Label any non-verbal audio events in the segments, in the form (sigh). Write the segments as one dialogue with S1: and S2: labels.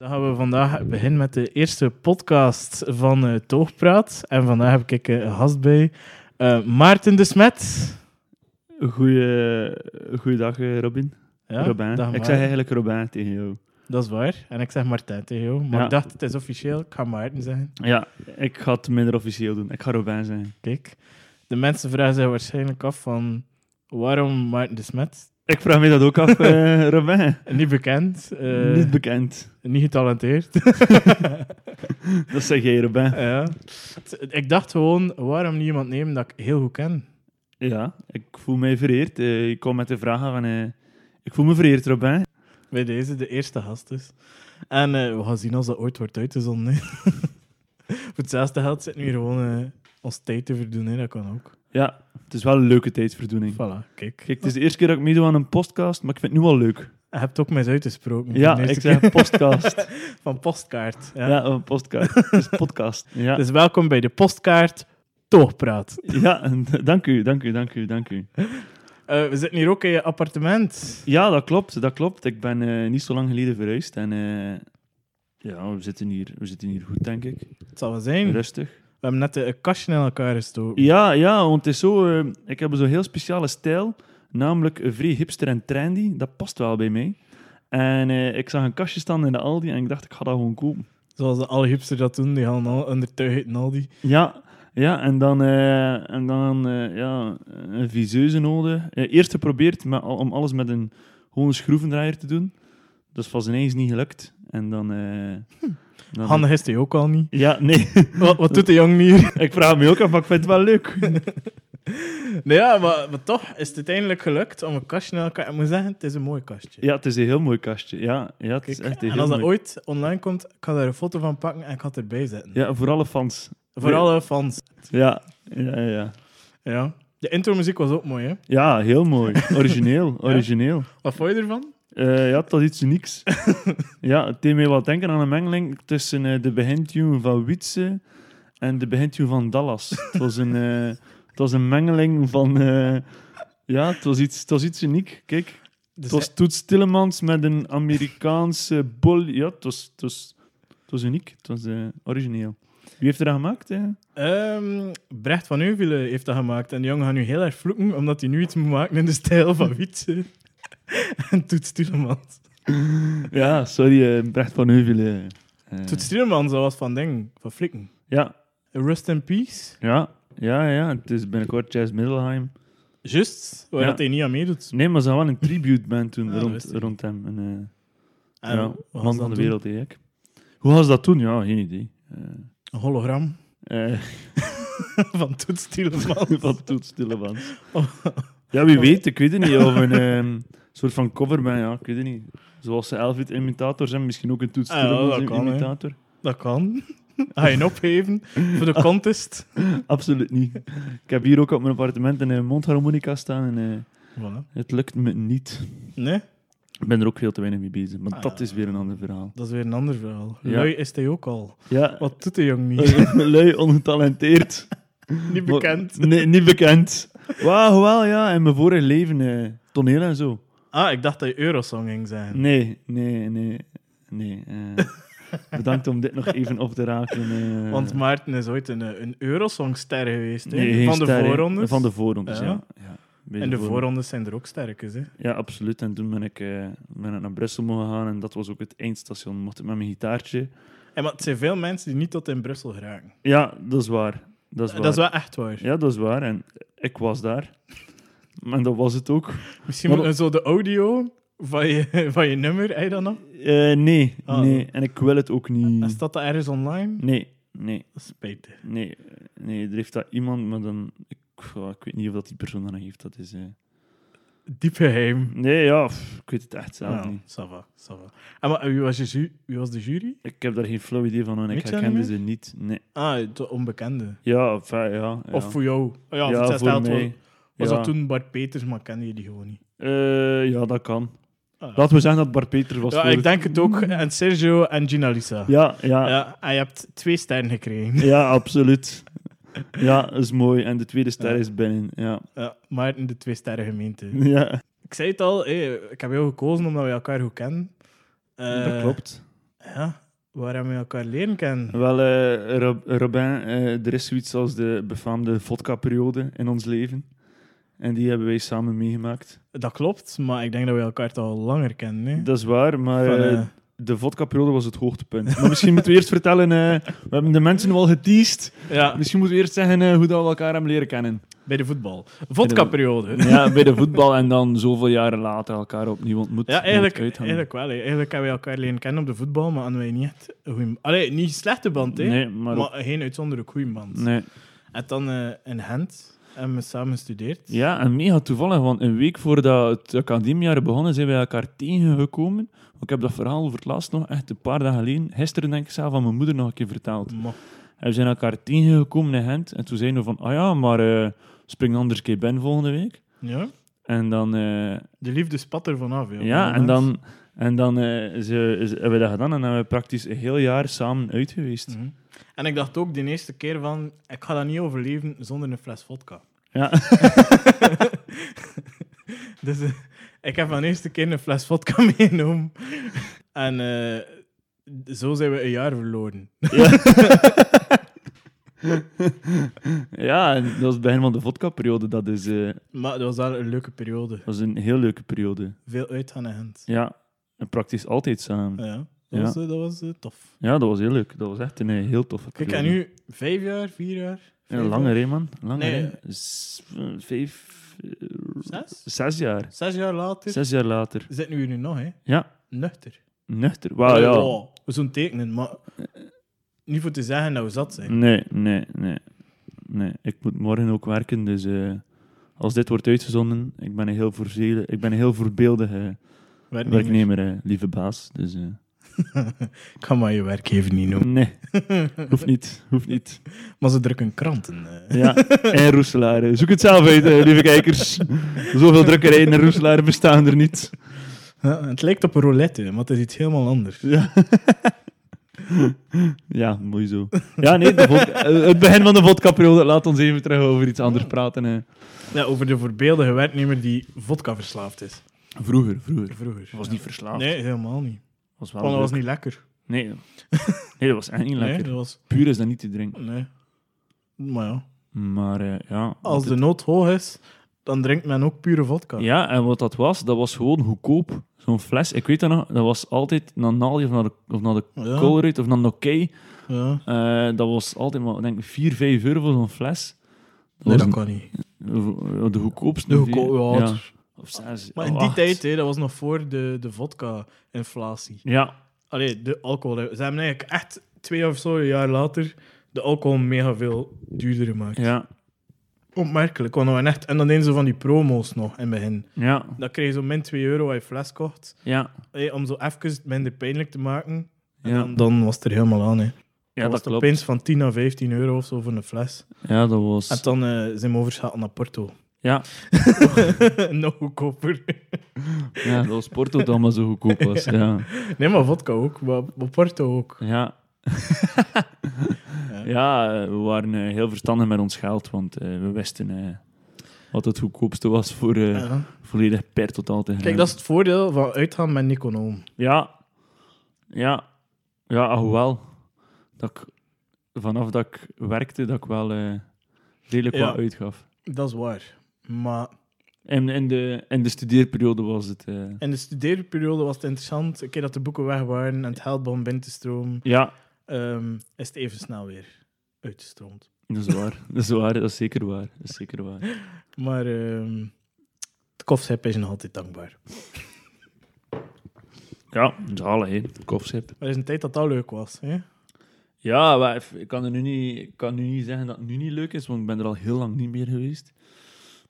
S1: vandaag begin met de eerste podcast van eh, Toogpraat. En vandaag heb ik eh, een gast bij, eh, Maarten de Smet.
S2: Goeie, goeiedag, eh, Robin.
S1: Ja,
S2: Robin.
S1: dag
S2: ik
S1: Maarten.
S2: zeg eigenlijk Robin tegen jou.
S1: Dat is waar. En ik zeg Martijn tegen jou. Maar
S2: Ja.
S1: ik dacht, het is officieel. Ik ga Maarten zeggen.
S2: Ja, ik ga het minder officieel doen. Ik ga Robin zijn.
S1: Kijk, de mensen vragen zich waarschijnlijk af van... Waarom Maarten de Smet?
S2: Ik vraag me dat ook (laughs) af, eh, Robin.
S1: Niet bekend. eh,
S2: Niet bekend.
S1: niet getalenteerd. (laughs)
S2: Dat zeg jij, Robin.
S1: Ja. T- Ik dacht gewoon, waarom niet iemand nemen dat ik heel goed ken?
S2: Ja, ik voel mij vereerd. Eh, je komt met de vragen van... eh, ik voel me vereerd, Robin.
S1: Bij deze, de eerste gast dus. En eh, we gaan zien als dat ooit wordt uitgezonden. hè. (laughs) Voor hetzelfde geld zitten we hier gewoon eh, ons tijd te verdoen, hè. dat kan ook.
S2: Ja, het is wel een leuke tijdsverdoening.
S1: Voilà, kijk.
S2: Kijk, het is de eerste keer dat ik meedoe aan een podcast, maar ik vind het nu al leuk.
S1: Je hebt ook mij eens uitgesproken. voor
S2: Ja,
S1: de eerste
S2: ik zeg
S1: keer.
S2: podcast.
S1: Van postkaart. Ja.
S2: (laughs) Ja, een podcast. Het is podcast. Ja.
S1: Dus welkom bij de postkaart Toogpraat.
S2: ja, (laughs) en- dank u, dank u, dank u, dank u.
S1: Eh, we zitten hier ook in je appartement.
S2: Ja, dat klopt, dat klopt. Ik ben eh, niet zo lang geleden verhuisd en eh, ja, we zitten, hier, we zitten hier goed, denk ik.
S1: Het zal wel zijn. We
S2: Rustig.
S1: hebben net een kastje in elkaar gestoken.
S2: Ja, ja, want het is zo, eh, ik heb zo'n heel speciale stijl, namelijk eh, vrij hipster en trendy. Dat past wel bij mij. En eh, ik zag een kastje staan in de Aldi en ik dacht, ik ga dat gewoon kopen.
S1: Zoals de allerhipster dat doen, die gaan al onder tuig uit en al die.
S2: Ja, ja en dan, eh, en dan eh, ja, een viseuze nodig. Eh, eerst geprobeerd met, al- om alles met een gewone schroevendraaier te doen. Dat is vast ineens niet gelukt. En dan... eh dan
S1: Hm. Handig is die ook al niet.
S2: Ja, nee. (laughs)
S1: Wat, wat doet de jong hier?
S2: ik vraag me ook af, maar ik vind het wel leuk.
S1: Nee, ja, maar, maar toch is het uiteindelijk gelukt om een kastje in elkaar... Ik moet zeggen, het is een mooi kastje.
S2: Ja, het is een heel mooi kastje. Ja, ja het is
S1: Kijk,
S2: echt een
S1: en
S2: heel
S1: als dat
S2: mooi...
S1: ooit online komt, ik ga daar een foto van pakken en ik ga het erbij zetten.
S2: Ja, voor alle fans.
S1: Voor
S2: Ja.
S1: alle fans.
S2: Ja, ja, ja, ja.
S1: Ja. De intro-muziek was ook mooi, hè?
S2: Ja, heel mooi.
S1: (laughs)
S2: Origineel, origineel.
S1: Wat vond je ervan?
S2: Eh, ja, het was iets (laughs) unieks. ja, het deed mij wel denken aan een mengeling tussen eh, de begintune van Wietse en de begintune van Dallas. het, was een, eh, het was een mengeling van... eh, ja, het was, iets, het was iets uniek. Kijk,
S1: Dus
S2: het was Toets Tillemans met een Amerikaanse bol. Ja, het was, het was, het was uniek. Het was eh, origineel. Wie heeft er dat gemaakt? eh?
S1: Ehm, Brecht van Euvelen heeft dat gemaakt. En die jongen gaat nu heel erg vloeken, omdat hij nu iets moet maken in de stijl van Wietse. (laughs) en Toet Stulemans.
S2: Ja, sorry, eh, Brecht van Heuvelen. eh.
S1: Toet Stulemans, dat was van ding, van flikken.
S2: ja,
S1: Rust in Peace.
S2: ja, ja, ja. Het is binnenkort Jazz Middelheim.
S1: Juist, waar
S2: Ja.
S1: dat hij niet aan meedoet.
S2: Nee, maar ze hadden wel een tribute band toen
S1: Ah, dat
S2: rond,
S1: wist ik.
S2: rond hem. En, eh,
S1: En
S2: ja,
S1: wat was
S2: man
S1: dat
S2: van de
S1: toen?
S2: wereld, hè, ik. Hoe was dat toen? Ja, geen idee. Eh,
S1: Een hologram (laughs)
S2: eh, (laughs)
S1: van Toet Stulemans.
S2: van Toets
S1: (laughs)
S2: Tillemans.
S1: Oh.
S2: Ja, wie weet, ik weet het niet. Of een ehm, soort van cover ben, ja, ik weet het niet. Zoals ze Elvit imitators zijn, misschien ook een Toets
S1: Ah, ja, dat
S2: Tillemans
S1: kan, hè.
S2: imitator.
S1: dat kan. (laughs) Ga je een opgeven voor de contest?
S2: Absoluut niet. Ik heb hier ook op mijn appartement een eh, mondharmonica staan en eh,
S1: Voilà.
S2: het lukt me niet.
S1: Nee,
S2: Ik ben er ook veel te weinig mee bezig, maar
S1: Ah,
S2: dat
S1: ja.
S2: is weer een ander verhaal.
S1: dat is weer een ander verhaal.
S2: Ja.
S1: Lui is hij ook al.
S2: Ja,
S1: Wat doet de jong niet?
S2: (laughs) lui, ongetalenteerd.
S1: niet bekend.
S2: Maar- Nee, niet bekend. Wauw, wel ja, in mijn vorig leven eh, toneel en zo.
S1: Ah, ik dacht dat je Eurosong ging zijn.
S2: Nee, nee, nee, nee. eh. bedankt om dit nog even op te raken. eh.
S1: Want Maarten is ooit een, eh, een Eurosongster geweest. hè?
S2: Nee, geen
S1: van de
S2: ster, hè.
S1: voorrondes.
S2: Van de voorrondes,
S1: Ja.
S2: ja. ja. Bij
S1: en de
S2: voorrondes.
S1: voorrondes zijn er ook sterkes. Hè?
S2: Ja, absoluut. En toen ben ik, eh, ben ik naar Brussel mogen gaan en dat was ook het eindstation. Mocht ik met mijn gitaartje.
S1: En, maar het zijn veel mensen die niet tot in Brussel geraken.
S2: Ja, dat is waar. Dat is waar.
S1: Dat is wel echt waar.
S2: Ja, dat is waar. En ik was daar. En dat was het ook.
S1: Misschien
S2: Maar-
S1: moeten we zo de audio van je, (laughs) van je nummer, heb je dat nog?
S2: Eh, nee,
S1: Ah.
S2: nee. En ik wil het ook
S1: En
S2: niet.
S1: staat dat ergens online?
S2: Nee, nee,
S1: Dat is spijtig.
S2: nee. Nee, er heeft dat iemand, maar dan... Ik, ja, ik weet niet of dat die persoon dat nog heeft. Dat is... eh,
S1: Diep geheim.
S2: Nee, ja, pff, ik weet het echt zelf
S1: Nou,
S2: niet.
S1: ça va, ça va. En maar, wie, was je, ju- wie was de jury?
S2: Ik heb daar geen flauw idee van en ik
S1: Weet je dat
S2: herkende
S1: niet
S2: ze niet. Nee.
S1: Ah, de onbekende.
S2: Ja, enfin, ja. ja.
S1: Of voor jou? Ah Ja,
S2: ja,
S1: voor het
S2: voor
S1: geld was,
S2: mij.
S1: was
S2: Ja.
S1: dat toen Bart Peters, maar kende je die gewoon niet.
S2: Eh, ja, dat kan.
S1: Ah, ja.
S2: Laten we zeggen dat Bart Peter was
S1: Ja,
S2: voor
S1: ik denk het ook. En Sergio en Gina Lisa.
S2: Ja, ja, (laughs) ja.
S1: Ja, en je hebt twee sterren gekregen.
S2: absoluut. Ja, dat is mooi. En de tweede ster
S1: Ja.
S2: is binnen. Ja. (laughs)
S1: Ja, maar in de twee sterren gemeente.
S2: ja.
S1: Ik zei het al, hé, ik heb jou gekozen omdat we elkaar goed kennen. Eh,
S2: dat klopt.
S1: Ja. waar hebben we elkaar leren kennen?
S2: Wel, eh, Rob- Robin, eh, er is zoiets als de befaamde vodka-periode in ons leven. En die hebben wij samen meegemaakt.
S1: Dat klopt, maar ik denk dat we elkaar toch al langer kennen. Hè?
S2: Dat is waar, maar
S1: Van,
S2: eh,
S1: eh,
S2: de vodka-periode was het hoogtepunt. Maar misschien moeten we eerst vertellen, eh, we hebben de mensen wel geteased.
S1: ja,
S2: Misschien moeten we eerst zeggen eh, hoe dat we elkaar hebben leren kennen.
S1: bij de voetbal. Vodka-periode.
S2: Ja, bij de voetbal en dan zoveel jaren later elkaar opnieuw ontmoet.
S1: Ja, eigenlijk, eigenlijk wel. Hè. Eigenlijk hebben we elkaar leren kennen op de voetbal, maar hadden wij niet echt een goeie... Allee, niet een slechte band, hè?
S2: Nee, maar...
S1: maar,
S2: ook-
S1: geen uitzonderlijk goede band.
S2: nee.
S1: En dan eh, in Gent hebben we samen gestudeerd.
S2: Ja, en mega toevallig, want een week voordat het academiejaar begonnen zijn wij elkaar tegengekomen. Ik heb dat verhaal voor het laatst nog echt een paar dagen geleden, gisteren denk ik zelf, aan mijn moeder nog een keer verteld.
S1: Maar-
S2: En we zijn elkaar tegengekomen in Gent en toen zeiden we van, ah ja, maar eh, spring anders een keer ben volgende week.
S1: ja,
S2: En dan, eh,
S1: de liefde spat er vanaf. Ja,
S2: ja, en
S1: Mens.
S2: dan, en dan eh, ze, ze- hebben we dat gedaan en hebben we praktisch een heel jaar samen uit geweest.
S1: Mhm. En ik dacht ook de eerste keer van, ik ga dat niet overleven zonder een fles vodka. (laughs)
S2: Ja. (laughs)
S1: dus eh, ik heb van de eerste keer een fles vodka (laughs) meegenomen. En eh, zo zijn we een jaar verloren. (laughs)
S2: Ja. ja, en dat was het begin van de vodka-periode. Dat is, eh,
S1: Maar dat was wel een leuke periode.
S2: dat is een heel leuke periode.
S1: Veel uitgaan in Gent.
S2: Ja, en praktisch altijd samen.
S1: Ja, dat
S2: Ja.
S1: was, eh, dat was eh, tof.
S2: Ja, dat was heel leuk. Dat was echt een eh, heel toffe
S1: Kijk,
S2: periode.
S1: en nu vijf jaar, vier jaar?
S2: Ja,
S1: vijf
S2: langer,
S1: jaar,
S2: hè, man? Langer,
S1: Nee.
S2: hè? Z- eh, Vijf... eh,
S1: Zes?
S2: Zes jaar.
S1: Zes jaar later
S2: Zes jaar later.
S1: zitten we hier nu nog, hè?
S2: Ja,
S1: Nuchter.
S2: nuchter. Wauw, ja.
S1: Oh, Zo'n tekenen, maar niet voor te zeggen dat we zat zijn.
S2: Nee, nee, nee. Nee, ik moet morgen ook werken, dus... eh, als dit wordt uitgezonden, ik ben een heel, voorzele- ik ben een heel voorbeeldige
S1: Werknemer.
S2: werknemer, eh, lieve baas. Dus, eh,
S1: Ik kan maar je werkgever niet noemen. (laughs)
S2: nee, hoeft niet, hoeft niet.
S1: Maar ze drukken kranten. eh.
S2: Ja, en Roeselaar. eh. Zoek het zelf uit, eh, lieve kijkers.
S1: (laughs)
S2: Zoveel drukkerijen en Roeselaar bestaan er niet.
S1: Ja, het lijkt op een roulette, maar het is iets helemaal anders.
S2: Ja. ja, mooi zo. Ja, nee, de vod- (laughs) eh, het begin van de vodka-periode. Laat ons even terug over iets anders praten. eh.
S1: Ja, over de voorbeeldige werknemer die vodka verslaafd is.
S2: Vroeger, vroeger.
S1: Vroeger.
S2: was
S1: Ja.
S2: niet verslaafd.
S1: Nee, helemaal niet.
S2: Oh, was wel
S1: Want dat was
S2: leuk.
S1: niet lekker.
S2: Nee. (laughs) nee, dat was echt niet lekker.
S1: Nee, dat was...
S2: Puur is dat niet te drinken.
S1: Nee. Maar ja,
S2: Maar eh, ja.
S1: als de nood hoog is, dan drinkt men ook pure vodka.
S2: Ja, en wat dat was, dat was gewoon goedkoop. Zo'n fles, ik weet dat nog, dat was altijd naar Naldi of naar de, of naar de
S1: Ja,
S2: Colruyt of naar de Oké.
S1: ja.
S2: Eh, dat was altijd maar, ik denk 4, 5 euro voor zo'n fles. Dat
S1: Nee,
S2: was
S1: dat kan niet.
S2: een- de goedkoopste.
S1: De goedkoop- ja, het-
S2: Of zes,
S1: Maar in
S2: of
S1: die
S2: acht.
S1: tijd, hè, dat was nog voor de, de vodka-inflatie.
S2: Ja,
S1: Allee, de alcohol. Ze hebben eigenlijk echt twee of zo jaar later de alcohol mega veel duurder gemaakt.
S2: ja,
S1: Opmerkelijk, want dat waren echt... En dan deden ze van die promos nog in het begin.
S2: ja,
S1: Dan kreeg je zo min 2 euro als je fles kocht.
S2: ja.
S1: Hey, om zo even het minder pijnlijk te maken. En
S2: Ja.
S1: dan, dan was het er helemaal aan. Hè.
S2: Ja, dat
S1: was het
S2: klopt.
S1: opeens van 10 à 15 euro of zo voor een fles.
S2: Ja, dat
S1: En
S2: was...
S1: dan eh, zijn we overschakeld naar Porto.
S2: Ja,
S1: (laughs) nog goedkoper.
S2: ja, dat was Porto dat maar zo goedkoop was. Ja,
S1: nee, maar vodka ook. Maar, maar Porto ook.
S2: (laughs) ja. ja, eh, we waren eh, heel verstandig met ons geld, want eh, we wisten eh, wat het goedkoopste was voor eh,
S1: Ja.
S2: volledig per totaal te
S1: Kijk,
S2: gaan.
S1: dat is het voordeel van uitgaan met een econoom.
S2: Ja. Ja. Ja, alhoewel. Dat ik, vanaf dat ik werkte, dat ik wel eh, redelijk
S1: Ja.
S2: wat uitgaf.
S1: Dat is waar. Maar
S2: En in de, in de studeerperiode was het... eh,
S1: in de studeerperiode was het interessant. Een keer dat de boeken weg waren en het geld begon binnen te stromen,
S2: ja,
S1: ehm, is het even snel weer uitgestroomd.
S2: dat is waar. (laughs) dat is waar, dat is zeker waar. Dat is zeker waar.
S1: Maar ehm het kofshep is nog altijd dankbaar.
S2: Ja, zalig, hè. Kofship.
S1: Er is een tijd dat dat leuk was. Hè?
S2: Ja, maar ik- ik kan, er nu niet, ik kan nu niet zeggen dat het nu niet leuk is, want ik ben er al heel lang niet meer geweest.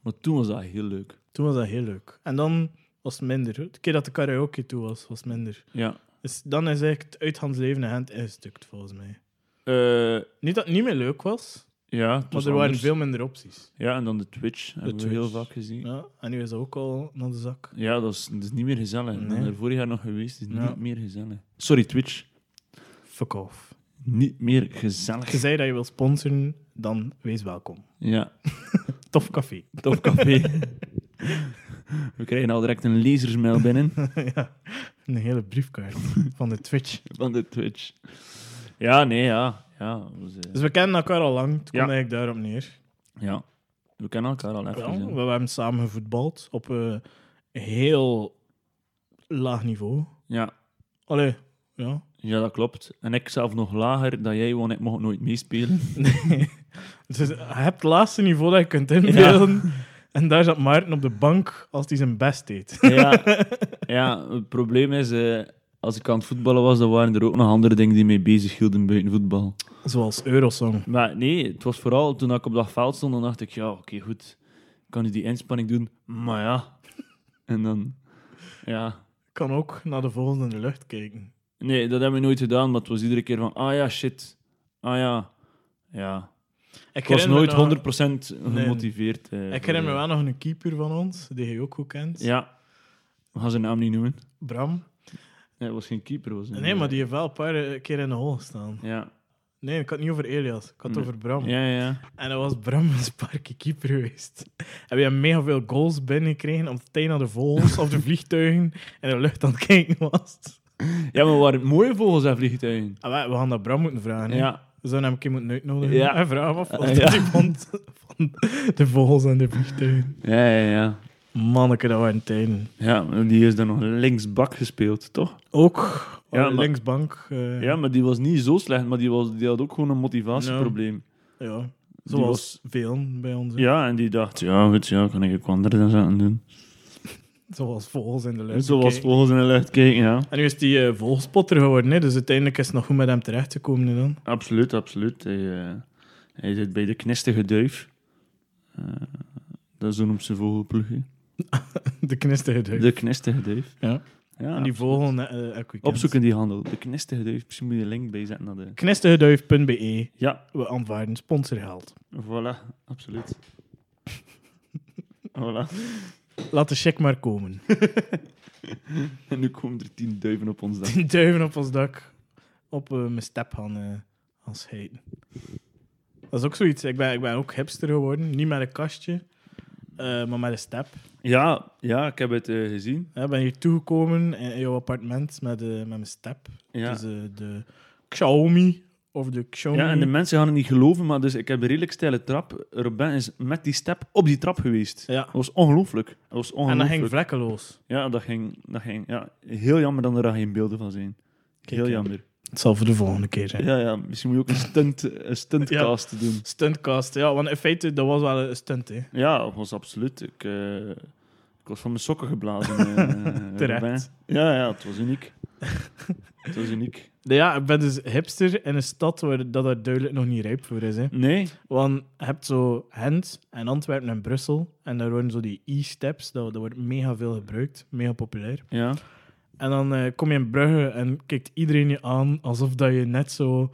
S2: Maar toen was dat heel leuk.
S1: Toen was dat heel leuk. En dan was het minder. De keer dat de karaoke toe was, was het minder.
S2: Ja.
S1: Dus dan is eigenlijk het uithandsleven in hand ingestukt, volgens mij.
S2: Eh,
S1: Niet dat het niet meer leuk was,
S2: ja, het
S1: maar
S2: was
S1: er waren
S2: anders.
S1: veel minder opties.
S2: Ja, en dan de Twitch hebben we
S1: Twitch.
S2: heel vaak gezien.
S1: Ja, en nu is dat ook al naar de zak.
S2: Ja, dat is, dat is niet meer gezellig. Ik ben
S1: Nee.
S2: er vorig jaar nog geweest, het is
S1: Ja.
S2: niet meer gezellig. Sorry, Twitch.
S1: Fuck off.
S2: Niet meer gezellig.
S1: Je zei dat je wil sponsoren, dan wees welkom.
S2: Ja,
S1: Tof café. (laughs)
S2: (laughs) Top café. We krijgen al direct een lezersmail binnen.
S1: ja. Een hele briefkaart (laughs) van de Twitch.
S2: Van de Twitch. Ja, nee, ja. Ja, eh, we,
S1: Dus we kennen elkaar al lang. Het komt
S2: Ja.
S1: eigenlijk daarop neer.
S2: ja. we kennen elkaar al even.
S1: Wel,
S2: hè.
S1: we hebben samen gevoetbald op een heel laag niveau.
S2: Ja.
S1: Allee, ja.
S2: ja, dat klopt. En ik zelf nog lager dan jij, want ik mocht nooit
S1: (laughs)
S2: meespelen.
S1: Nee. Dus je hebt het laatste niveau dat je kunt inbeelden. En daar zat Maarten op de bank als hij zijn best deed.
S2: ja, ja, het probleem is, eh, als ik aan het voetballen was, dan waren er ook nog andere dingen die mij bezig hielden buiten voetbal.
S1: Zoals Eurosong.
S2: Maar nee, het was vooral toen ik op dat veld stond, dan dacht ik, ja, oké, goed. Ik kan nu die inspanning doen, maar ja. (laughs) En dan, ja.
S1: Kan ook naar de volgende in de lucht kijken.
S2: Nee, dat hebben we nooit gedaan, maar het was iedere keer van, ah ja, shit. Ah ja, ja.
S1: Ik
S2: Ik was
S1: herinner me
S2: nooit
S1: nog-
S2: 100% gemotiveerd.
S1: Ik
S2: eh, voor-
S1: herinner me wel nog een keeper van ons, die je ook goed kent.
S2: Ja, we gaan zijn naam niet noemen.
S1: Bram.
S2: Nee, het was geen keeper. het Was een-
S1: Nee, maar die heeft wel een paar eh, keer in de hol gestaan.
S2: Ja,
S1: Nee, ik had het niet over Elias. Ik had het
S2: Nee.
S1: over Bram.
S2: ja, ja.
S1: En dat was Bram een sparke keeper geweest. En we hebben mega veel goals binnengekregen omdat hij naar de vogels
S2: (laughs)
S1: of de vliegtuigen in de lucht aan het kijken was.
S2: Ja, maar waren het mooie vogels en vliegtuigen.
S1: Ah, wij- we gaan dat Bram moeten vragen. hè.
S2: Ja,
S1: We zouden hem een keer moeten uitnodigen.
S2: Ja.
S1: En vragen hem af wat
S2: (laughs) Ja.
S1: dat hij vond van de vogels en de vliegtuigen.
S2: ja, ja. ja.
S1: Manneke, dat waren tijden.
S2: Ja, maar die is dan nog linksbak gespeeld, toch?
S1: Ook
S2: Ja,
S1: eh,
S2: maar-
S1: linksbank. eh,
S2: Ja, maar die was niet zo slecht, maar die, was, die had ook gewoon een motivatieprobleem.
S1: ja.
S2: Die
S1: Zoals
S2: was-
S1: velen bij ons. hè.
S2: Ja, en die dacht, ja, goed, ja, kan ik ook andere dan zaken doen.
S1: Zoals vogels in de
S2: En
S1: lucht.
S2: zoals
S1: Oké.
S2: vogels in de lucht kijken, ja.
S1: En nu is die eh, vogelspotter geworden, hè? dus uiteindelijk is het nog goed met hem terechtgekomen. hè, Dan. (laughs)
S2: Absoluut, absoluut. Hij, eh, hij zit bij de knistige duif. Eh, dat is een ze vogelploeg. hè.
S1: De knistige duif.
S2: De knistige duif.
S1: Ja.
S2: ja
S1: En die vogel net, eh, heb ik gekend.
S2: Opzoeken die handel. De knistige duif. Misschien moet je een link bijzetten naar de...
S1: Knistigeduif.be.
S2: Ja,
S1: E, We aanvaarden sponsorgeld.
S2: voilà. Absoluut. (laughs) voilà.
S1: Laat de check maar komen.
S2: En nu komen er tien duiven op ons dak.
S1: Tien duiven op ons dak. Op eh, mijn step gaan, eh gaan scheiden. Dat is ook zoiets. Ik ben, ik ben ook hipster geworden. Niet met een kastje, eh, maar met een step.
S2: Ja, ja, ik heb het eh, gezien.
S1: Ik ben hier toegekomen in, in jouw appartement met, eh, met mijn step.
S2: Ja.
S1: Dus eh, de Xiaomi of de Xiaomi.
S2: ja, en de mensen gaan het niet geloven, maar dus ik heb een redelijk steile trap. Robin is met die step op die trap geweest.
S1: Ja.
S2: Dat was ongelooflijk. Dat was
S1: En dat
S2: ongelooflijk.
S1: ging vlekkeloos.
S2: Ja, dat ging, dat ging ja, heel jammer dat er daar geen beelden van zijn.
S1: Kijk,
S2: heel
S1: ja.
S2: jammer.
S1: Het zal voor de volgende keer zijn.
S2: Ja, ja, misschien moet je ook een, stunt, een stuntcast doen.
S1: Stuntcast, ja, want in feite, dat was wel een stunt, hè.
S2: Ja, dat was absoluut. Ik, eh, ik was van mijn sokken geblazen. (laughs) eh,
S1: Terecht.
S2: Robin. Ja, ja, het was uniek. het was uniek.
S1: Ja, ik ben dus hipster in een stad waar dat er duidelijk nog niet rijp voor is, hè.
S2: Nee,
S1: Want je hebt zo Gent en Antwerpen en Brussel. En daar worden zo die e-steps. Dat, dat wordt mega veel gebruikt. Mega populair.
S2: ja.
S1: En dan eh, kom je in Brugge en kijkt iedereen je aan alsof dat je net zo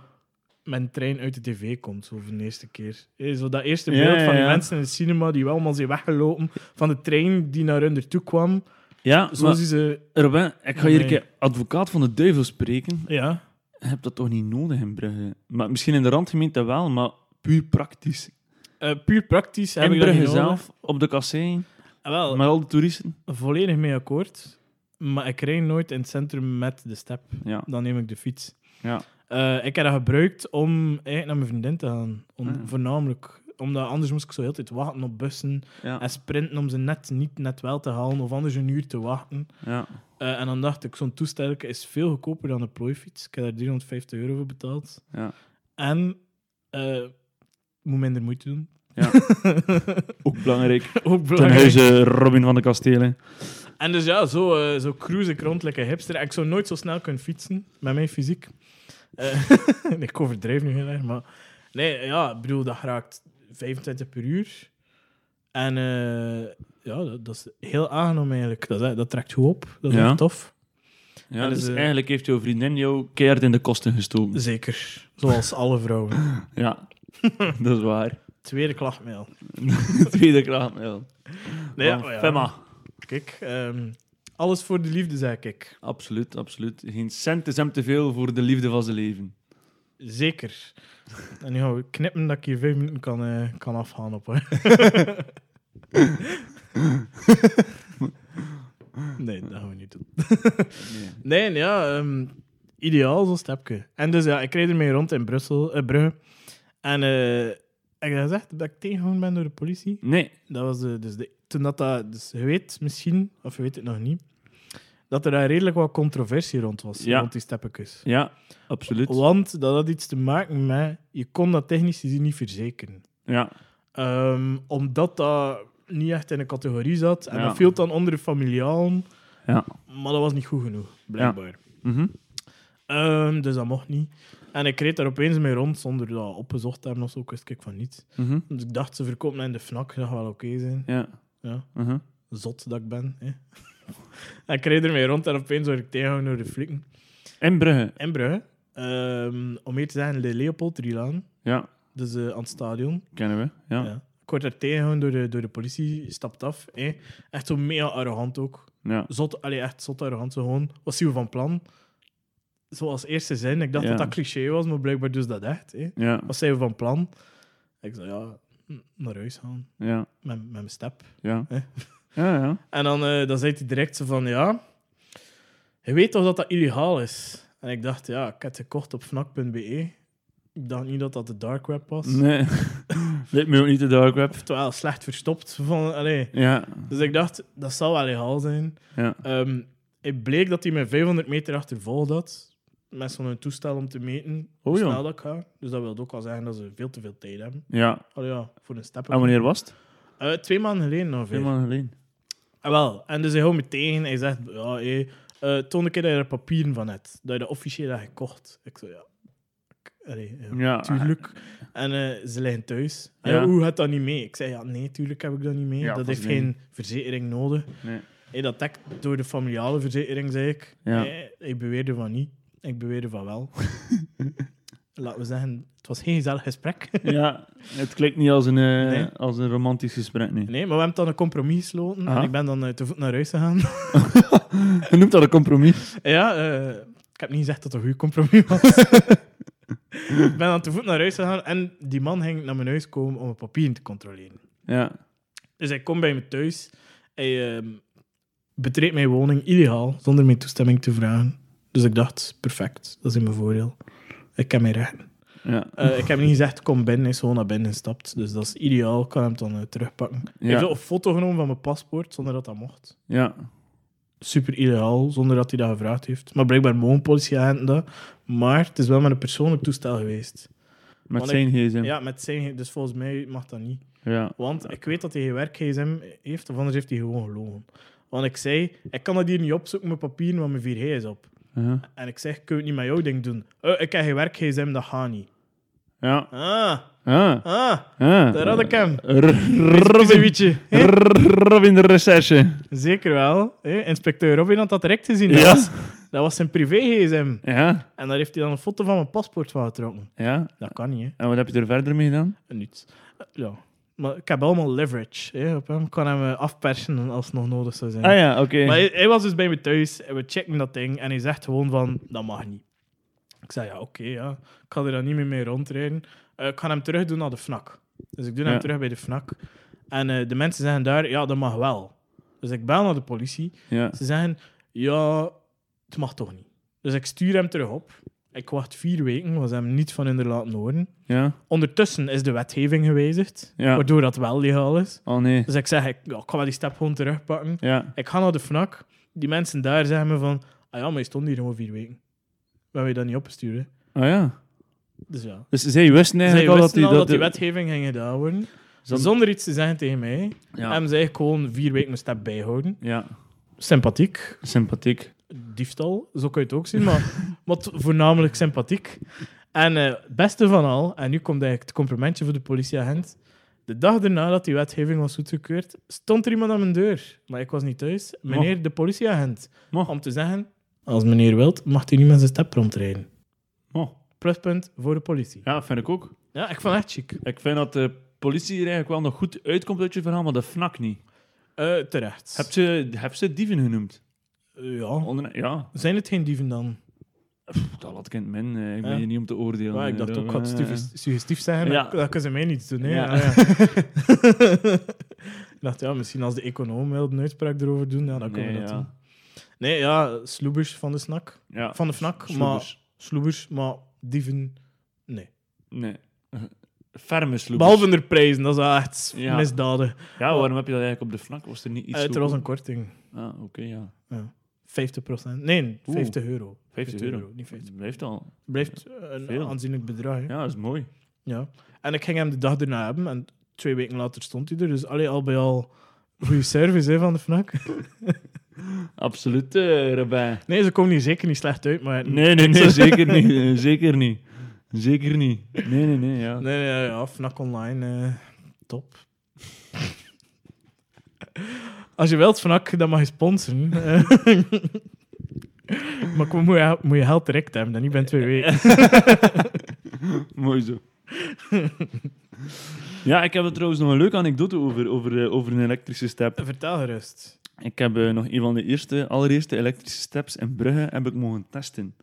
S1: met een trein uit de tv komt. Zo voor de eerste keer. Eh, Zo dat eerste
S2: Ja,
S1: beeld van die
S2: ja, ja.
S1: mensen in het cinema die wel allemaal zijn weggelopen. Van de trein die naar hun toe kwam.
S2: Ja,
S1: Zo
S2: maar,
S1: zien ze...
S2: Robin, ik ga hier een
S1: Nee.
S2: keer advocaat van de duivel spreken.
S1: Ja.
S2: Je hebt dat toch niet nodig in Brugge? Maar misschien in de randgemeente wel, maar puur praktisch.
S1: Eh, puur praktisch heb
S2: in
S1: ik dat
S2: Brugge
S1: niet nodig.
S2: zelf, op de kassein,
S1: Ah, wel,
S2: met al de toeristen.
S1: volledig mee akkoord. Maar ik rij nooit in het centrum met de step.
S2: Ja,
S1: dan neem ik de fiets.
S2: Ja.
S1: Eh, ik heb dat gebruikt om eigenlijk naar mijn vriendin te gaan. Om,
S2: Ah.
S1: Voornamelijk. Omdat anders moest ik zo heel de tijd wachten op bussen
S2: ja,
S1: en sprinten om ze net niet net wel te halen of anders een uur te wachten.
S2: ja.
S1: Eh, en dan dacht ik, zo'n toestel is veel goedkoper dan een plooifiets. Ik heb daar 350 euro voor betaald.
S2: Ja.
S1: En eh moet minder moeite doen.
S2: Ja. Ook belangrijk.
S1: (laughs) Ook
S2: Ten
S1: belangrijk.
S2: huize Robin van de Kastelen.
S1: En dus ja, zo, eh, zo cruise ik rond like een hipster. En Ik zou nooit zo snel kunnen fietsen met mijn fysiek. Eh, (laughs) ik overdrijf nu heel erg, maar... Nee, ja, ik bedoel, dat raakt 25 per uur. En eh, ja, dat, dat is heel aangenaam eigenlijk. Dat, is- dat trekt goed op. Dat is
S2: Ja.
S1: echt tof.
S2: Ja,
S1: En
S2: dus
S1: dus, eh,
S2: eigenlijk heeft jouw vriendin jou keihard in de kosten gestoken.
S1: Zeker. Zoals alle vrouwen. (laughs)
S2: Ja, dat is waar. (laughs)
S1: Tweede klachtmail.
S2: Tweede kraammail.
S1: Nee,
S2: Van
S1: oh ja.
S2: Femma.
S1: Kijk, ehm, alles voor de liefde, zei ik.
S2: Absoluut, absoluut. Geen cent is hem te veel voor de liefde van zijn leven.
S1: Zeker. En nu gaan we knippen dat ik hier vijf minuten kan, eh, kan afgaan op. Hè. nee, dat gaan we niet titel. Nee, ja, ehm, ideaal zo'n stapje. En dus ja, ik reed ermee rond in Brussel, eh, Brugge. En eh ik had gezegd dat ik tegengehouden ben door de politie.
S2: Nee.
S1: Dat was de, dus de, toen dat, dat... Dus je weet misschien, of je weet het nog niet, dat er daar redelijk wat controversie rond was,
S2: Ja.
S1: rond die steppetjes.
S2: Ja, absoluut.
S1: Want dat had iets te maken met... Je kon dat technisch gezien niet verzekeren.
S2: Ja,
S1: Ehm, omdat dat niet echt in een categorie zat. En
S2: Ja.
S1: dat viel dan onder de familiaal.
S2: ja.
S1: Maar dat was niet goed genoeg, blijkbaar.
S2: Mhm.
S1: Ehm, dus dat mocht niet. En ik reed daar opeens mee rond zonder dat opgezocht te hebben of zo. Ik wist ik van niets.
S2: Mhm.
S1: Dus ik dacht, ze verkopen mij in de FNAC. Dat gaat wel oké zijn.
S2: Ja.
S1: Ja,
S2: Mhm.
S1: zot dat ik ben. Hè. (laughs) en ik reed ermee rond en opeens word ik tegengehouden door de flikken.
S2: En Brugge.
S1: In Brugge. Ehm, om meer te zeggen, de Leopold Rielaan.
S2: Ja,
S1: Dus eh, aan het stadion.
S2: kennen we. Ja.
S1: Ja. Ik word daar tegengehouden door de, door de politie. Stapt af. Hè. Echt zo mega arrogant ook.
S2: Ja.
S1: zot, allee, echt zot arrogant. Zo gewoon, wat zien we van plan? Zoals eerste zin. Ik dacht
S2: Ja.
S1: dat dat cliché was, maar blijkbaar dus dat echt. Hè.
S2: Ja.
S1: Wat zijn we van plan? Ik zei, ja, n- naar huis gaan.
S2: Ja.
S1: Met, met mijn step.
S2: Ja.
S1: Eh.
S2: Ja, ja.
S1: En dan, eh, dan zei hij direct zo van, ja... Je weet toch dat dat illegaal is? En ik dacht, ja, ik heb het gekocht op fnac.be. E. Ik dacht niet dat dat de dark web was.
S2: Nee. (laughs) Lijkt me ook niet de dark web.
S1: Terwijl slecht verstopt. Van, allee.
S2: Ja.
S1: Dus ik dacht, dat zal wel legaal zijn.
S2: Ja.
S1: Ehm, het bleek dat hij me 500 meter achtervolgd had. Met zo'n toestel om te meten hoe
S2: Oh ja.
S1: snel dat ik ga. Dus dat wil ook wel zeggen dat ze veel te veel tijd hebben.
S2: Ja.
S1: Allee, ja, voor een stap.
S2: En wanneer was het?
S1: Eh, twee maanden geleden ongeveer.
S2: Ah, Twee maanden geleden.
S1: Ah, wel. En dus hij houdt me tegen. Hij zegt, ja, hé, eh, toon een keer dat je er papieren van hebt. Dat je dat officieel hebt gekocht. Ik zo, ja. ik- Allee, ja.
S2: Ja.
S1: Tuurlijk. (laughs) En eh, ze liggen thuis. En
S2: Ja.
S1: hoe gaat dat niet mee? Ik zei, ja, nee, tuurlijk heb ik dat niet mee.
S2: Ja,
S1: dat
S2: dat is
S1: heeft
S2: niet.
S1: geen verzekering nodig.
S2: Nee.
S1: Hey, dat dekt door de familiale verzekering, zei ik.
S2: Ja.
S1: Hey, ik beweerde van niet. Ik beweerde van
S2: (laughs)
S1: wel. Laten we zeggen, het was geen gezellig gesprek. (laughs)
S2: Ja. Het klinkt niet als een, eh,
S1: Nee.
S2: als een romantisch gesprek, nee.
S1: Nee, maar we hebben dan een compromis gesloten. En
S2: Aha.
S1: ik ben dan eh, te voet naar huis gegaan. (laughs)
S2: Je noemt dat een compromis.
S1: ja, eh, ik heb niet gezegd dat het een goed compromis was.
S2: (laughs)
S1: ik ben dan te voet naar huis gegaan. En die man ging naar mijn huis komen om mijn papieren te controleren.
S2: Ja.
S1: Dus hij komt bij me thuis. Hij ehm, betreedt mijn woning illegaal, zonder mijn toestemming te vragen. Dus ik dacht, perfect, dat is in mijn voordeel. Ik heb mijn rechten.
S2: Ja.
S1: Eh, ik heb niet gezegd, kom binnen, hij is gewoon naar binnen gestapt. Dus dat is ideaal, ik kan hem dan eh, terugpakken. Hij
S2: Ja.
S1: heeft ook een foto genomen van mijn paspoort, zonder dat dat mocht.
S2: Ja.
S1: Super illegaal, zonder dat hij dat gevraagd heeft. Maar blijkbaar mogen politieagenten dat. Maar het is wel met een persoonlijk toestel geweest.
S2: Met
S1: ik-
S2: zijn gsm. Ja.
S1: Ja, met zijn, dus volgens mij mag dat niet. Want ik weet dat hij geen werk-gsm heeft, of anders heeft hij gewoon gelogen. Want ik zei, ik kan dat hier niet opzoeken, mijn papieren, want mijn 4G is op.
S2: Uh-huh.
S1: En ik zeg, kun je het niet met jouw ding doen? Eh, ik heb geen werk-gsm, dat gaat niet.
S2: Ja.
S1: Ah,
S2: Ah.
S1: ah,
S2: Ah.
S1: daar had ik hem.
S2: Robin.
S1: Robin.
S2: Robin de recherche.
S1: Zeker wel. hè. Inspecteur Robin had dat direct gezien. Dat,
S2: Ja.
S1: was, dat was zijn privé-gsm.
S2: Ja.
S1: En daar heeft hij dan een foto van mijn paspoort van getrokken.
S2: Ja.
S1: Dat kan niet, hè.
S2: En wat heb je er verder mee gedaan?
S1: Niets. Eh, Ja. Maar ik heb allemaal leverage hè, op hem. Ik kan hem eh, afpersen als het nog nodig zou zijn.
S2: Ah ja, oké.
S1: Maar hij, hij was dus bij me thuis en we checken dat ding en hij zegt gewoon van, dat mag niet. Ik zei, ja, oké, ja. Ik ga er dan niet meer mee rondrijden. Eh, ik ga hem terug doen naar de FNAC. Dus ik doe hem
S2: Ja.
S1: terug bij de FNAC. En eh, de mensen zeggen daar, ja, dat mag wel. Dus ik bel naar de politie.
S2: Ja.
S1: Ze zeggen, ja, het mag toch niet. Dus ik stuur hem terug op. Ik wacht vier weken, was hem niet van in de laten horen.
S2: Ja.
S1: Ondertussen is de wetgeving gewijzigd,
S2: Ja.
S1: waardoor dat wel legaal is.
S2: Oh nee.
S1: Dus ik zeg, ik, ja, ik ga wel die stap gewoon terugpakken.
S2: Ja.
S1: Ik ga naar de FNAC. Die mensen daar zeggen me van... Ah ja, maar je stond hier gewoon vier weken. We hebben je dat niet opgestuurd. hè."
S2: Oh ja.
S1: Dus ja.
S2: Dus zij wisten
S1: Zij
S2: eigenlijk
S1: wisten
S2: al dat die...
S1: dat die
S2: de-
S1: wetgeving ging gedaan worden.
S2: Zon-
S1: Zonder iets te zeggen tegen mij.
S2: Ja.
S1: Hebben ze eigenlijk gewoon vier weken mijn stap bijhouden.
S2: ja.
S1: Sympathiek.
S2: Sympathiek.
S1: Diefstal. Zo kun je het ook zien. (laughs) Maar, maar t- voornamelijk sympathiek. En eh, het beste van al... En nu komt eigenlijk het complimentje voor de politieagent. De dag daarna dat die wetgeving was goedgekeurd... stond er iemand aan mijn deur. Maar ik was niet thuis. Meneer de politieagent.
S2: Mo.
S1: om te zeggen: als meneer wilt, mag hij niet met zijn step rondrijden.
S2: Mo.
S1: Pluspunt voor de politie.
S2: Ja, vind ik ook.
S1: Ja, ik vond het echt chic.
S2: Ik vind dat de politie er eigenlijk wel nog goed uitkomt uit je verhaal, maar de FNAC niet.
S1: Eh, terecht.
S2: Heb ze, heb ze dieven genoemd?
S1: Eh, ja.
S2: Onder, ja,
S1: Zijn het geen dieven dan?
S2: dat laat ik in het min. eh, Ik ben
S1: Ja.
S2: hier niet om te oordelen.
S1: Ja, ik dacht
S2: eh,
S1: ook, ik
S2: eh,
S1: ga het sugges- suggestief zijn,
S2: Ja.
S1: dat, dat kunnen ze mij niets doen. hè.
S2: Ja.
S1: Ah, ja. (laughs) ik dacht, ja, misschien als de econoom wel een uitspraak erover doen, ja, dan kunnen
S2: nee,
S1: we dat
S2: ja.
S1: doen. Nee, ja, sloebers van de snack.
S2: Ja,
S1: Van de fnak, maar...
S2: sloebers.
S1: Sloebers, maar dieven... Nee.
S2: Nee. (laughs) Ferme sloebers.
S1: Behalve de prijzen, dat is wel echt
S2: Ja.
S1: misdaden.
S2: Ja, waarom heb je dat eigenlijk op de fnak? Was er niet iets
S1: Eh, er
S2: goedkoop?
S1: was een korting.
S2: Ah, oké, ja.
S1: 50%. Nee, 50 euro.
S2: 50 euro.
S1: Niet 50.
S2: Het blijft al.
S1: Het blijft een
S2: Veel.
S1: aanzienlijk bedrag. hè. Ja.
S2: Ja, dat is mooi.
S1: En ik ging hem de dag erna hebben en twee weken later stond hij er. Dus allee, al bij al goede service hè, van de FNAC.
S2: Absoluut, eh Rabijn.
S1: (laughs) Nee, ze komen hier zeker niet slecht uit, maar...
S2: Nee, nee,
S1: (laughs)
S2: nee, zeker niet. Eh, Zeker niet. Zeker niet. Nee, nee, nee, ja.
S1: Nee, nee, ja, FNAC online, eh, top. (laughs) Als je wilt, FNAC, dan mag je sponsoren. Eh, (laughs) maar kom, moet, je, moet je geld direct hebben, dan niet binnen twee weken.
S2: Mooi zo. ja, ik heb er trouwens nog een leuke anekdote over, over, eh, over een elektrische step.
S1: (laughs) Vertel gerust.
S2: Ik heb eh, nog een van de eerste, allereerste elektrische steps in Brugge heb ik mogen testen.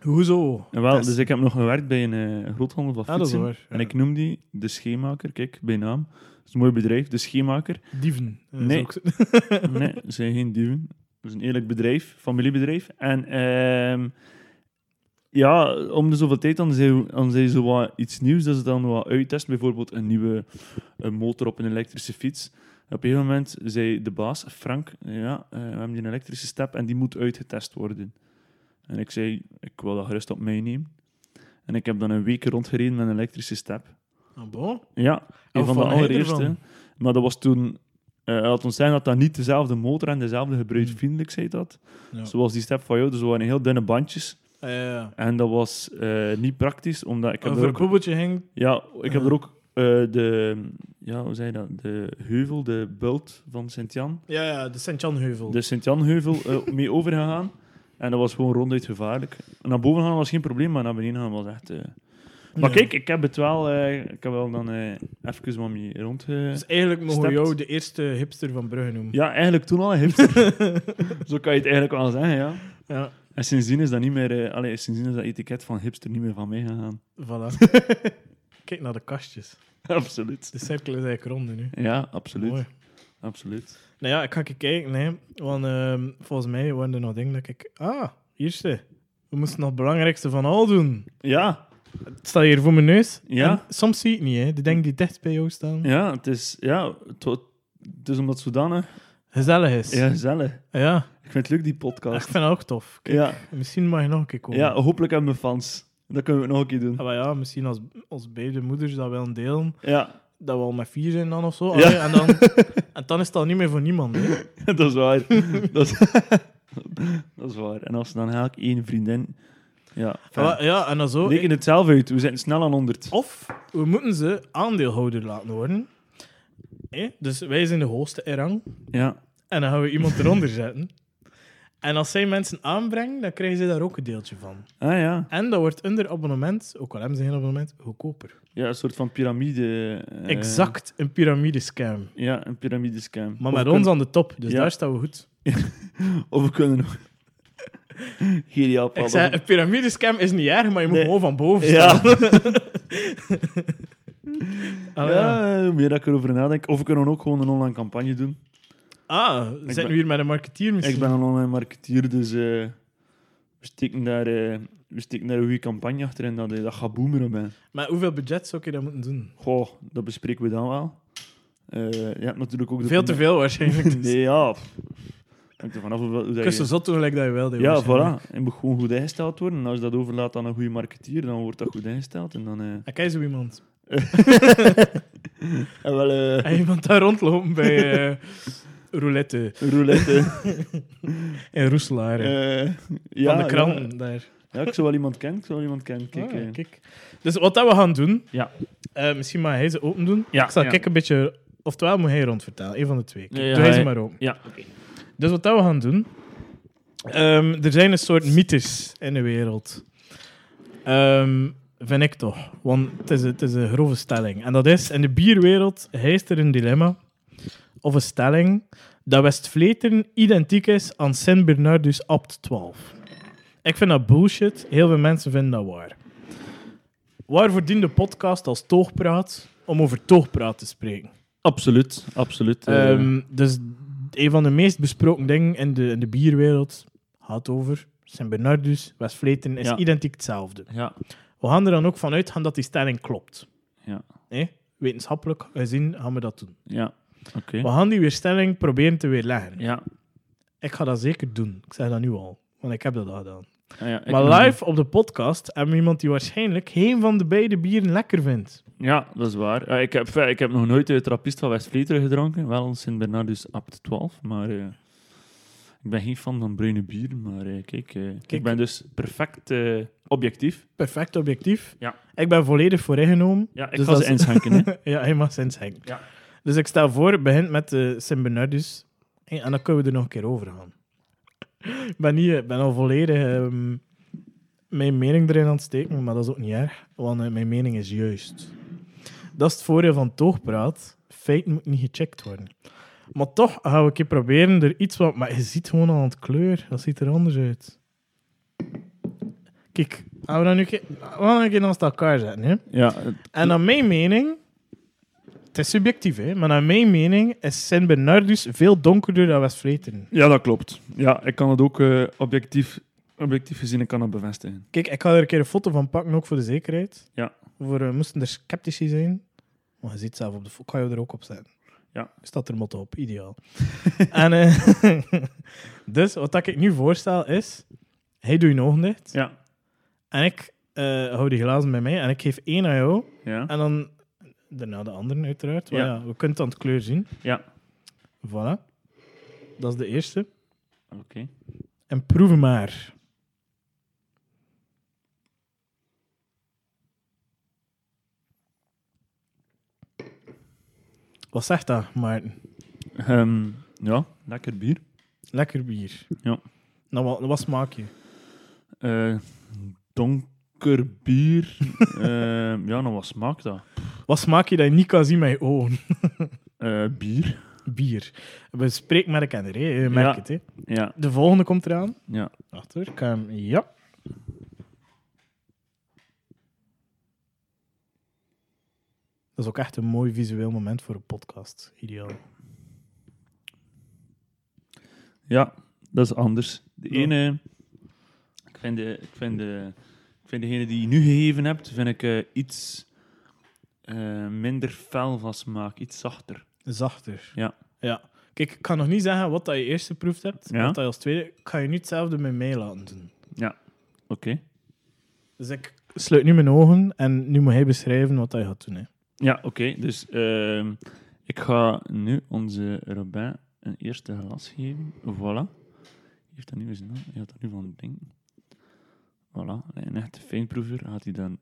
S1: Hoezo?
S2: En wel,
S1: Test.
S2: dus ik heb nog gewerkt bij een eh, groothandel van
S1: Ah, dat is
S2: fietsen.
S1: waar, ja.
S2: En ik noem die De Scheemaker, kijk, bij naam. Dat is een mooi bedrijf, De Scheemaker.
S1: Dieven. eh,
S2: Nee.
S1: zou ik zeggen.
S2: nee, ze zijn geen dieven. Het is een eerlijk bedrijf, familiebedrijf. En ehm, ja, om de zoveel tijd dan zijn, dan zijn ze wat iets nieuws dat ze dan wat uittesten. Bijvoorbeeld een nieuwe eh, motor op een elektrische fiets. Op een gegeven moment zei de baas, Frank, ja, eh, we hebben hier een elektrische step en die moet uitgetest worden. En ik zei, ik wil dat gerust op mij nemen. En ik heb dan een week rondgereden met een elektrische step.
S1: Ah, bon?
S2: Ja, een
S1: Of
S2: van de
S1: van hij
S2: allereerste.
S1: ervan.
S2: Maar dat was toen... eh laat ons zeggen dat dat niet dezelfde motor en dezelfde gebruiksvriendelijkheid had.
S1: Hmm. Ja.
S2: Zoals die step van jou. Dus er waren heel dunne bandjes.
S1: Eh,
S2: En dat was eh, niet praktisch, omdat ik heb
S1: Over
S2: er
S1: een
S2: ook...
S1: koepeltje hing.
S2: Ja, ik heb
S1: Ja.
S2: er ook eh, de... Ja, hoe zei je dat? De heuvel, de bult van Sint-Jan.
S1: Ja, ja, de Sint-Jan-heuvel.
S2: De Sint-Jan-heuvel eh, mee overgegaan. En dat was gewoon ronduit gevaarlijk. Naar boven gaan was geen probleem, maar naar beneden gaan was echt... eh. Maar
S1: Ja.
S2: kijk, ik heb het wel... eh, ik heb wel dan eh even wat mee rondge...
S1: Dus eigenlijk mogen we
S2: Stept.
S1: jou de eerste hipster van Brugge noemen.
S2: Ja, eigenlijk toen al een (laughs) hipster. Zo kan je het eigenlijk wel zeggen, ja.
S1: Ja,
S2: En sindsdien is dat niet meer... eh, allee, sindsdien is dat etiket van hipster niet meer van mij gegaan.
S1: voilà. Kijk naar de kastjes.
S2: (laughs) absoluut.
S1: De cirkel is eigenlijk rond nu.
S2: Ja, absoluut.
S1: Mooi.
S2: Absoluut.
S1: Nou ja, ik ga even kijken. Nee. Want ehm, volgens mij waren er nog dingen dat ik... Ah, hier is ze. We moesten nog het belangrijkste van al doen.
S2: Ja,
S1: Het staat hier voor mijn neus.
S2: Ja.
S1: En soms zie je het niet, hè. De dingen die dicht bij jou staan.
S2: ja, het is... Ja, het, wa- het is omdat zodanig...
S1: Gezellig is.
S2: Ja, gezellig.
S1: Ja,
S2: Ik vind het leuk, die
S1: Ik
S2: (laughs) podcast.
S1: vind dat ook tof. Kijk,
S2: Ja,
S1: Misschien mag je nog een keer komen.
S2: ja, hopelijk hebben we fans. Dat kunnen we nog een keer doen.
S1: Ah, maar ja, misschien als, als beide moeders dat willen delen,
S2: Ja,
S1: dat we al met vier zijn dan of zo.
S2: Ja.
S1: Allee, en, dan, en dan is het al niet meer voor niemand. Hè.
S2: (laughs) dat is waar. (laughs) dat, is, dat is waar. En als dan eigenlijk één vriendin... Ja, fijn.
S1: Ah, Ja, en dan zo.
S2: Reken het zelf uit. We zitten snel aan 100.
S1: Of we moeten ze aandeelhouder laten worden. Hè? Dus wij zijn de hoogste in rang.
S2: Ja.
S1: En dan gaan we iemand eronder zetten. En als zij mensen aanbrengen, dan krijgen ze daar ook een deeltje van.
S2: Ah ja.
S1: En dat wordt onder abonnement, ook al hebben ze geen abonnement, goedkoper.
S2: Ja, een soort van piramide. eh,
S1: exact een piramidescam.
S2: Ja, een piramidescam.
S1: Maar
S2: Of
S1: met ons
S2: we kunnen-
S1: aan de top, dus
S2: Ja.
S1: daar staan we goed.
S2: Of we kunnen (laughs) nog. Geniaal,
S1: Ik zei, een piramidescam is niet erg, maar je moet
S2: Nee.
S1: gewoon van boven
S2: Ja.
S1: staan. Ja.
S2: (laughs)
S1: Ah,
S2: ja, eh, hoe meer dat ik erover nadenk. Of we kunnen ook gewoon een online campagne doen.
S1: Ah, zitten
S2: ben-
S1: we hier met een marketeer misschien?
S2: Ik ben een online marketeer, dus eh, we, steken daar, eh, we steken daar een goede campagne achter en dat, eh, dat gaat boemeren ben.
S1: Maar hoeveel budget zou ik dat moeten doen?
S2: Goh, dat bespreken we dan wel. Eh je hebt natuurlijk ook de
S1: Veel te veel waarschijnlijk. Dus.
S2: (laughs) Nee, ja. pff. Hangt er vanaf hoeveel. hoe dat
S1: Kus
S2: je-
S1: zo zot doen gelijk dat je wel deed.
S2: Ja,
S1: waarschijnlijk.
S2: voilà. Het moet gewoon goed ingesteld worden. En als je dat overlaat aan een goede marketeer, dan wordt dat goed ingesteld. En dan... eh,
S1: En Ah, kijk zo iemand.
S2: En wel... eh,
S1: En (laughs) iemand daar rondlopen bij eh, roulette
S2: roulette.
S1: (laughs) in Roeselaar. hè.
S2: eh,
S1: van
S2: ja,
S1: de Ah, kranten daar.
S2: Ja, ja, ik zou wel iemand kennen. Ik zou wel iemand kennen. Kijk,
S1: Kijk,
S2: eh.
S1: kijk. Dus wat dat we gaan doen,
S2: Ja.
S1: eh, misschien mag hij ze open doen.
S2: Ja,
S1: ik zal
S2: ja.
S1: kijken een beetje... Oftewel moet hij rondvertalen, een van de twee.
S2: Ja, ja,
S1: Doe hij ze
S2: hij-
S1: maar open.
S2: Ja.
S1: Dus wat dat we gaan doen. ehm, er zijn een soort mythes in de wereld. Ehm, vind ik toch. Want het is, het is een grove stelling. En dat is: in de bierwereld heist er een dilemma. Of een stelling. Dat Westvleteren identiek is aan Sint Bernardus Abt 12. Ik vind dat bullshit. Heel veel mensen vinden dat waar. Waarvoor dient de podcast als toogpraat om over toogpraat te spreken?
S2: Absoluut. Absoluut. eh.
S1: Ehm, dus een van de meest besproken dingen in de, in de bierwereld gaat over Sint Bernardus, Westfleten, is
S2: Ja.
S1: identiek hetzelfde.
S2: Ja.
S1: We gaan er dan ook vanuit gaan dat die stelling klopt.
S2: Ja.
S1: Nee? Wetenschappelijk gezien gaan we dat doen.
S2: Ja. Oké.
S1: We gaan die weerstelling proberen te weerleggen.
S2: Ja.
S1: Ik ga dat zeker doen. Ik zeg dat nu al, want ik heb dat al gedaan.
S2: Ah ja, ik
S1: maar
S2: nog
S1: live op de podcast hebben we iemand die waarschijnlijk geen van de beide bieren lekker vindt.
S2: niet. Ja, dat is waar. Eh, ik, heb, eh, ik heb nog nooit de trappist van west gedronken. Wel een Sint-Bernardus Abt 12, maar... eh, ik ben geen fan van bruine bier, maar eh, kijk, eh,
S1: Kijk. Dus
S2: ik ben dus perfect eh, objectief.
S1: Perfect objectief.
S2: Ja.
S1: Ik ben volledig voor ingenomen.
S2: Ja, ik
S1: Dus
S2: ga
S1: dat
S2: ze
S1: is-
S2: inschenken, hè.
S1: (laughs) ja, helemaal sinds Henk.
S2: Ja.
S1: Dus ik stel voor, het begint met de Sint Bernardus. En en dan kunnen we er nog een keer over gaan. Ik ben, niet, eh, ben al volledig ehm, mijn mening erin aan het steken, maar dat is ook niet erg, want eh, mijn mening is juist. Dat is het voordeel van toogpraat. Feiten moeten niet gecheckt worden. Maar toch gaan we een keer proberen er iets wat... Maar je ziet gewoon aan het kleur. Dat ziet er anders uit. Kijk, gaan we dan nu een keer, we gaan een keer naast elkaar zetten, hè?
S2: Ja, het-
S1: En naar mijn mening, het is subjectief, hè, maar naar mijn mening is Sint Bernardus veel donkerder dan Westfleten.
S2: ja, dat klopt. Ja, ik kan het ook eh, objectief, objectief gezien ik kan het bevestigen.
S1: Kijk, ik ga er een keer een foto van pakken, ook voor de zekerheid.
S2: Ja.
S1: Voor, we moesten er sceptici zijn. Maar je ziet zelf op de foto, kan je er ook op zetten.
S2: Ja.
S1: Staat er motto op, ideaal. (laughs) en, eh, (laughs) dus wat dat ik nu voorstel is, hij doet je ogen dicht
S2: Ja.
S1: en ik eh, hou die glazen bij mij en ik geef één aan jou
S2: Ja.
S1: en dan daarna de anderen uiteraard. Maar
S2: Ja.
S1: ja, we kunnen het aan het kleur zien.
S2: Ja.
S1: Voilà. Dat is de eerste.
S2: Ah, Oké.
S1: En proeven maar. Wat zegt dat, Maarten?
S2: Ehm, ja, lekker bier.
S1: Lekker bier.
S2: Ja.
S1: Nou, wat, wat smaak je?
S2: Eh, donker bier. (laughs) Ehm, ja, nou wat smaakt dat?
S1: Wat smaak je dat je niet kan zien met je ogen?
S2: Eh, bier.
S1: Bier. We spreken met de hè? Je merkt
S2: Ja.
S1: het, hè?
S2: Ja,
S1: De volgende komt eraan.
S2: ja.
S1: Wacht hoor, ik ga hem... Ja. Dat is ook echt een mooi visueel moment voor een podcast. Ideaal.
S2: ja, dat is anders. De
S1: Ja.
S2: ene, ik vind, de, ik, vind de, ik vind degene die je nu gegeven hebt, vind ik eh, iets eh, minder fel van smaak, iets zachter.
S1: Zachter.
S2: Ja.
S1: ja. Kijk, ik kan nog niet zeggen wat dat je eerst geproefd hebt.
S2: Ja.
S1: Wat dat je als tweede... Ik ga je nu hetzelfde met mij laten doen.
S2: Oké.
S1: Dus ik sluit nu mijn ogen en nu moet hij beschrijven wat hij gaat doen. Hè.
S2: Ja, oké. Dus ehm, ik ga nu onze Robin een eerste glas geven. Voilà. Heeft dat nu eens na? Hij had dat nu van het ding. Voilà. Een echte fijnproever gaat hij dan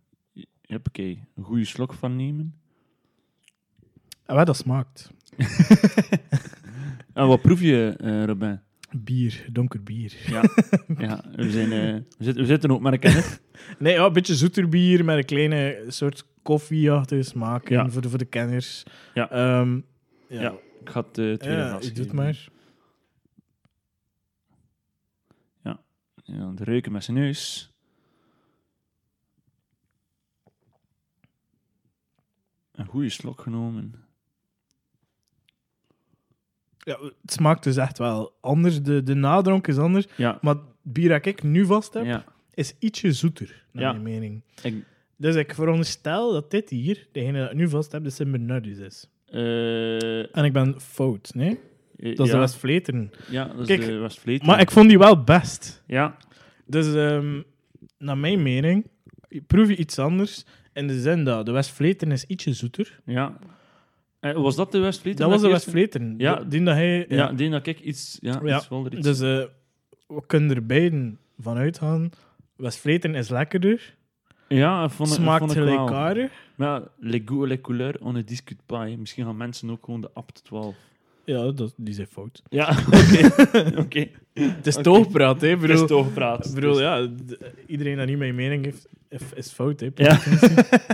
S2: huppakee, een goede slok van nemen.
S1: En wat dat smaakt.
S2: En wat proef je, eh, Robin?
S1: (laughs) Bier. Donker bier.
S2: Ja, we, zijn, eh, we, zitten, we zitten ook met elkaar. hè?
S1: Nee, ja, een beetje zoeter bier met een kleine soort koffieachtige smaak. in
S2: Ja.
S1: Voor, de, voor de kenners.
S2: Ja.
S1: Ehm, ja.
S2: Ja. Ik ga het eh, tweede
S1: Ja,
S2: glas
S1: je
S2: geven.
S1: doet maar.
S2: En dan de reuken met zijn neus. Een goede slok genomen.
S1: Ja, het smaakt dus echt wel anders. De, de nadronk is anders.
S2: Ja,
S1: Maar het bier dat ik nu vast heb,
S2: ja.
S1: is ietsje zoeter, naar
S2: Ja.
S1: mijn mening.
S2: Ik,
S1: Dus ik veronderstel dat dit hier, degene dat ik nu vast heb, de Sint Bernardus is.
S2: eh, eh,
S1: En ik ben fout, nee? Dat is
S2: ja,
S1: de West Vleteren.
S2: Ja, dat is
S1: Kijk,
S2: de Westvleteren.
S1: Maar ik vond die wel best.
S2: Ja,
S1: Dus ehm, naar mijn mening proef je iets anders. In de zin dat de West Vleteren is ietsje zoeter.
S2: ja. Eh, was dat de
S1: Dat
S2: Westvleteren?
S1: was de West
S2: eerste?
S1: Vleteren.
S2: Ja.
S1: De- Die dat hij...
S2: Ja, die dat ik iets... Ja,
S1: Ja,
S2: Ah, iets wilder iets.
S1: Dus eh, we kunnen er beiden van uitgaan. Westvleten is lekkerder,
S2: ja, vond ik,
S1: smaakt
S2: vond ik wel.
S1: gelijkaardig.
S2: Maar ja, le goût et les couleurs, on ne discute pas. hè. Misschien gaan mensen ook gewoon de apt 12.
S1: Ja, dat, die zijn fout.
S2: Ja, oké. (laughs)
S1: (laughs)
S2: oké
S1: Het is
S2: Oké.
S1: toogpraat, hè?
S2: Er is
S1: Bedoel,
S2: toch gepraat.
S1: bedoel, ja, d- iedereen dat niet mijn mening heeft, is- is fout, hè?
S2: Ja.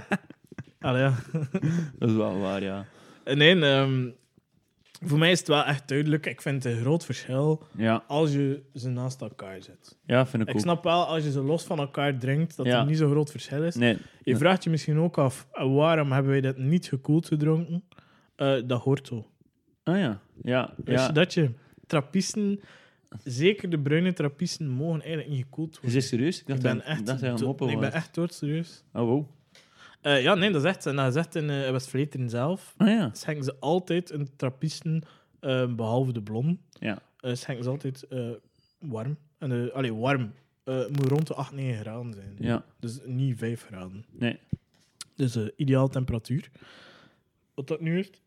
S2: (laughs)
S1: Allee, ja.
S2: Dat is wel waar, ja.
S1: Eh, Nee, ehm, voor mij is het wel echt duidelijk. Ik vind het een groot verschil
S2: Ja,
S1: als je ze naast elkaar zet.
S2: ja vind ik,
S1: Ik
S2: ook.
S1: snap wel, als je ze los van elkaar drinkt, dat
S2: Ja.
S1: er niet zo'n groot verschil is.
S2: Nee,
S1: Je vraagt je misschien ook af, eh, waarom hebben wij dat niet gekoeld gedronken? Eh, dat hoort zo.
S2: ah ja. Ja,
S1: Wist
S2: ja.
S1: je dat je? trappisten, zeker de bruine trappisten, mogen eigenlijk niet gekoeld
S3: Is
S1: worden.
S3: dit serieus? Ik dacht
S1: Ik ben
S3: dat-
S1: echt,
S3: dat hij aan het
S1: dood-
S3: moppen
S1: nee, ik ben
S3: was.
S1: echt doodserieus.
S3: Oh, wow.
S1: Eh ja, nee, dat is echt. En dat is echt in eh West-Vleteren zelf.
S2: Ah ja.
S1: Schenken ze altijd een trappisten, eh, behalve de blond.
S2: Ja.
S1: schenken ze altijd eh, warm. En, eh, allee, warm. Eh, moet rond de 8, 9 graden zijn.
S2: Ja.
S1: Dus niet 5 graden.
S2: Nee.
S1: Dus eh ideaal temperatuur. Wat dat nu heeft.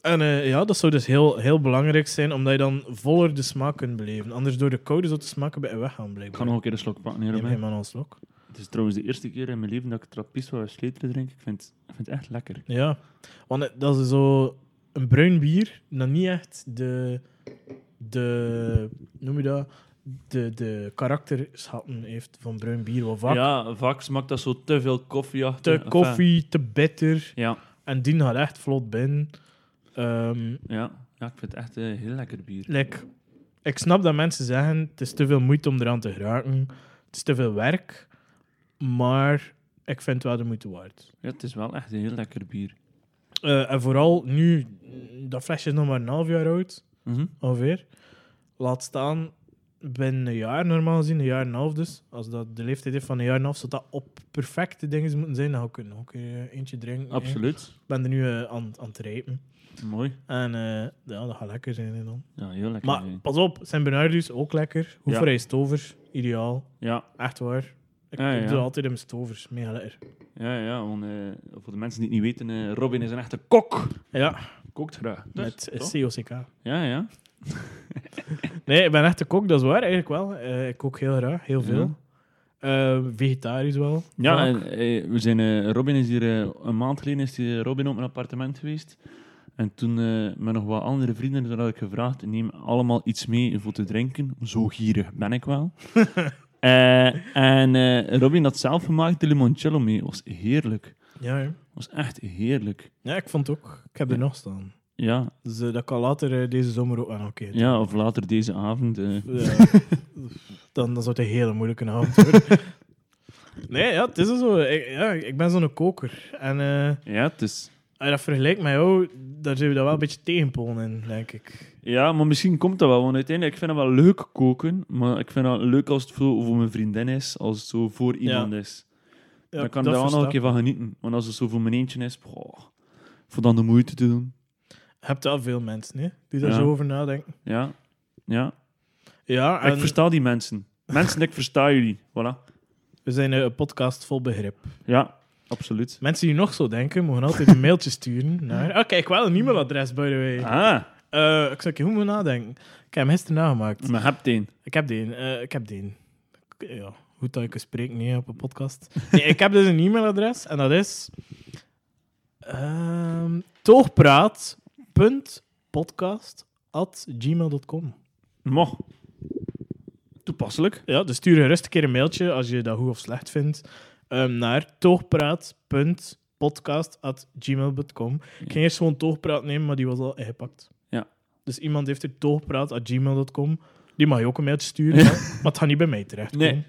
S1: En eh, ja, dat zou dus heel, heel belangrijk zijn, omdat je dan voller de smaak kunt beleven. Anders door de koude zou de smaken bij je weggaan,
S2: Ik
S1: blijkbaar.
S2: ga nog een keer een slok pakken
S1: Neem
S2: hier.
S1: geen man als lok.
S2: Het is trouwens de eerste keer in mijn leven dat ik trappist wou sleteren drink. Ik vind, ik vind het echt lekker.
S1: Ja, want het- dat is zo een bruin bier dat niet echt de, de noem je dat, de, de karakterschatten heeft van bruin bier. Wat vaak
S2: Ja, vaak smaakt dat zo te veel koffie achter.
S1: te koffie, te bitter.
S2: Ja,
S1: En die gaat echt vlot binnen. Ehm,
S2: ja, ja, ik vind het echt eh, heel lekker bier.
S1: like, ik snap dat mensen zeggen, het is te veel moeite om eraan te geraken. Het is te veel werk. Maar ik vind het wel de moeite waard.
S2: Ja, het is wel echt een heel lekker bier.
S1: Eh, en vooral nu, dat flesje is nog maar een half jaar oud.
S2: Mhm.
S1: ongeveer. Laat staan binnen een jaar, normaal gezien, een jaar en een half dus. Als dat de leeftijd heeft van een jaar en een half, zou dat op perfecte dingen moeten zijn. Dan kun je ook eentje drinken.
S2: Absoluut.
S1: Ik ben er nu eh, aan, aan het rijpen.
S2: Mooi.
S1: En eh, ja, dat gaat lekker zijn hè, dan.
S2: Ja, heel lekker.
S1: Maar
S2: bier.
S1: pas op, zijn Bernardus ook lekker. Hoe
S2: Ja.
S1: voor hij stovers, ideaal.
S2: Ja,
S1: Echt waar. Ik
S2: Ja, ja,
S1: doe
S2: ja.
S1: altijd in mijn stovers, mega lekker.
S2: ja, ja want, eh, voor de mensen die het niet weten, eh, Robin is een echte kok.
S1: Ja,
S2: Kookt graag. Dus,
S1: met eh,
S2: toch?
S1: COCK.
S2: Ja, ja.
S1: Nee, ik ben echt een kok, dat is waar eigenlijk wel. Eh, ik kook heel graag, heel veel. Eh, vegetarisch wel.
S2: Ja,
S1: vaak.
S2: en, eh, we zijn, eh, Robin is hier eh, een maand geleden is die, eh, Robin op mijn appartement geweest. En toen eh, met nog wat andere vrienden toen had ik gevraagd: neem allemaal iets mee voor te drinken. Zo gierig ben ik
S1: (laughs)
S2: wel. Eh, en eh, Robin had zelf gemaakt de limoncello mee. Was heerlijk.
S1: ja, ja.
S2: Was echt heerlijk.
S1: Ja, ik vond het ook. Ik heb er nog staan.
S2: Ja,
S1: Dus eh, dat kan later eh, deze zomer ook aan. Oké.
S2: ja of later deze avond. eh.
S1: Ja. dan, dan zou het een hele moeilijke avond worden. (laughs) nee, ja, het is zo. Ik, ja, ik ben zo'n koker. En eh,
S2: Ja, het is.
S1: als je dat vergelijkt met jou, daar zijn we dat wel een beetje tegenpolen in, denk ik.
S2: Ja, maar misschien komt dat wel. Want uiteindelijk, ik vind het wel leuk koken. Maar ik vind het leuk als het voor, voor mijn vriendin is. Als het zo voor iemand is.
S1: Ja,
S2: dan kan ik daar wel nog
S1: versta
S2: een keer van genieten. Want als het zo voor mijn eentje is, goh, voor dan de moeite te doen.
S1: Je hebt wel veel mensen hè, die daar
S2: Ja.
S1: zo over nadenken.
S2: Ja, ja.
S1: Ja,
S2: Ik
S1: en
S2: versta die mensen. Mensen, ik versta jullie. Voilà.
S1: we zijn eh, een podcast vol begrip.
S2: Ja, absoluut.
S1: Mensen die nog zo denken, mogen altijd een mailtje sturen naar... Oh, kijk, wel een e-mailadres, by the way.
S2: Ah,
S1: Eh, ik zou een keer goed moeten nadenken. Ik heb hem gisteren nagemaakt.
S2: maar heb een.
S1: Ik heb die. eh, ik heb die. Ik- Ja, goed dat ik kan spreken niet op een podcast. Nee, ik heb dus een e-mailadres en dat is ehm toogpraat.podcast.gmail.com.
S2: Moch. Toepasselijk.
S1: Ja, dus stuur gerust een keer een mailtje als je dat goed of slecht vindt ehm, naar toogpraat.podcast.gmail.com. Ik ging eerst gewoon toogpraat nemen, maar die was al ingepakt.
S2: Ja.
S1: Dus iemand heeft er toogpraat.gmail.com. Die mag je ook een mailtje
S2: (laughs)
S1: sturen, hè, maar het gaat niet bij mij terecht.
S2: Nee.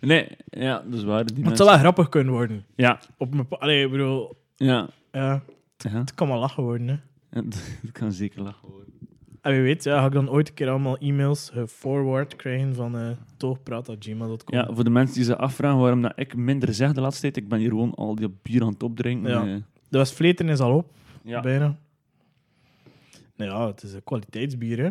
S2: Nee, ja, dat is waar. Die
S1: Maar het zou
S2: mensen.
S1: wel grappig kunnen worden.
S2: Ja,
S1: Op mijn pa- Allee, ik bedoel,
S2: ja.
S1: ja,
S2: ja.
S1: het kan wel lachen worden. Hè.
S2: Dat kan zeker lachen.
S1: En wie weet, ja, ga ik dan ooit een keer allemaal e-mails geforward krijgen van eh toogpraat.gmail.com.
S2: Ja, voor de mensen die zich afvragen waarom dat ik minder zeg de laatste tijd, ik ben hier gewoon al die bier aan het opdrinken.
S1: Ja.
S2: eh.
S1: De Westvleten is al op,
S2: ja.
S1: bijna. Nou ja, het is een kwaliteitsbier, hè.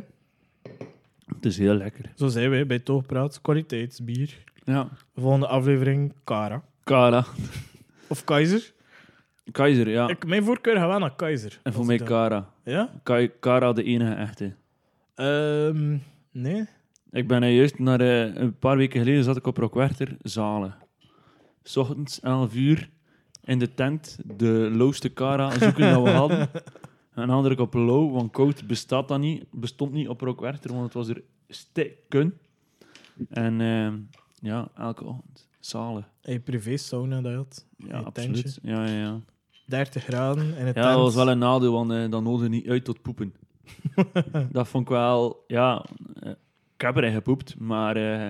S2: Het is heel lekker.
S1: Zo zijn wij bij Toogpraat, kwaliteitsbier.
S2: Ja.
S1: Volgende aflevering, Kara.
S2: Kara.
S1: Of Keizer.
S2: Keizer, ja.
S1: Ik, mijn voorkeur gaat wel naar Keizer.
S2: en voor
S1: Als
S2: mij
S1: ik dat-
S2: Kara.
S1: Ja?
S2: Kai- Kara de enige echte.
S1: Ehm, nee.
S2: Ik ben eh, juist naar eh, een paar weken geleden zat ik op Rockwerter, Zalen. 's ochtends 11 uur in de tent, de lowste Kara zoeken
S1: (laughs)
S2: dat we hadden. En dan had ik op low, want koud bestaat dat niet, bestond niet op Rockwerter, want het was er stikken. En eh, ja, elke ochtend, Zalen.
S1: Hey, privé sauna dat je had.
S2: Ja,
S1: Een
S2: absoluut.
S1: tentje.
S2: Ja, ja, ja.
S1: 30 graden in het
S2: Ja, dat was wel een nadeel, want eh, dan nodigde niet uit tot
S1: (laughs)
S2: poepen. dat vond ik wel... Ja, eh, ik heb erin gepoept, maar eh,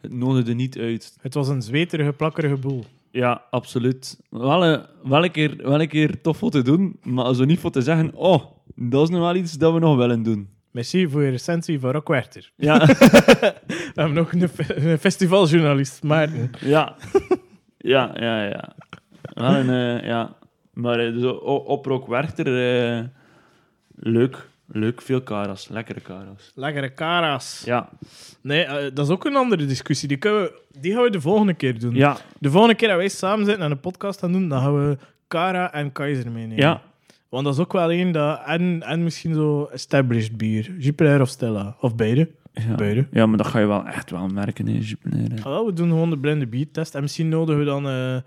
S2: het nodigde niet uit.
S1: Het was een zweterige, plakkerige boel.
S2: Ja, absoluut. Wel, eh, wel, een keer, wel een keer tof voor te doen, maar zo niet voor te zeggen... Oh, dat is nog wel iets dat we nog willen doen.
S1: Merci voor je recensie van Rock Werther.
S2: Ja,
S1: (laughs) We hebben nog een, fe- een festivaljournalist, Maarten.
S2: ja. Ja, ja, ja. Wel een, eh, ja. Maar eh, dus o- op Rock Werchter, eh, leuk. Leuk, veel karas. Lekkere karas.
S1: Lekkere karas.
S2: Ja,
S1: Nee, eh, dat is ook een andere discussie. Die, kunnen we, die gaan we de volgende keer doen.
S2: ja,
S1: De volgende keer dat wij samen zitten en een podcast gaan doen, dan gaan we Cara en Kaiser meenemen.
S2: ja.
S1: Want dat is ook wel één dat... En, en misschien zo established bier. Jupiler of Stella. Of beide.
S2: Ja.
S1: Beide.
S2: ja, maar dat ga je wel echt wel merken in Jupiler. hè.
S1: Ah, wel, we doen gewoon de blinde biertest. En misschien nodigen we dan eh, eh,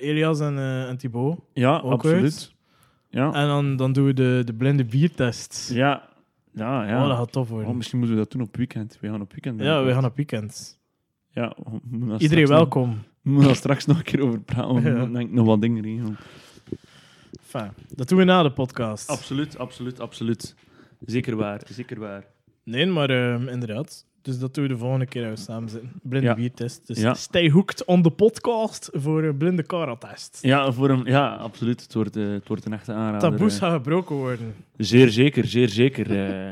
S1: Elias en, eh en Thibaut.
S2: Ja,
S1: Ook
S2: absoluut.
S1: uit.
S2: Ja,
S1: En dan, dan doen we de, de blinde biertest.
S2: ja, ja.
S1: Oh, dat
S2: ja.
S1: gaat tof worden.
S2: Oh, misschien moeten we dat doen op weekend. We gaan op weekend.
S1: ja, we gaan op weekend.
S2: Ja, we moeten daar
S1: Iedereen
S2: straks nog-
S1: welkom.
S2: We moeten daar straks nog een keer over praten.
S1: (laughs)
S2: want
S1: Ja.
S2: We moeten denk ik nog wat dingen regelen.
S1: Enfin, dat doen we na de podcast.
S2: Absoluut, absoluut, absoluut. Zeker waar, zeker waar.
S1: Nee, maar ehm, inderdaad. Dus dat doen we de volgende keer als we samen zitten. Blinde
S2: Ja.
S1: biertest. Dus
S2: Ja.
S1: stay hooked on de podcast voor een blinde karatest.
S2: Ja, voor hem, ja absoluut. Het wordt, eh, het wordt een echte aanrader.
S1: Taboes
S2: eh.
S1: gaan gebroken worden.
S2: Zeer zeker, zeer zeker. eh.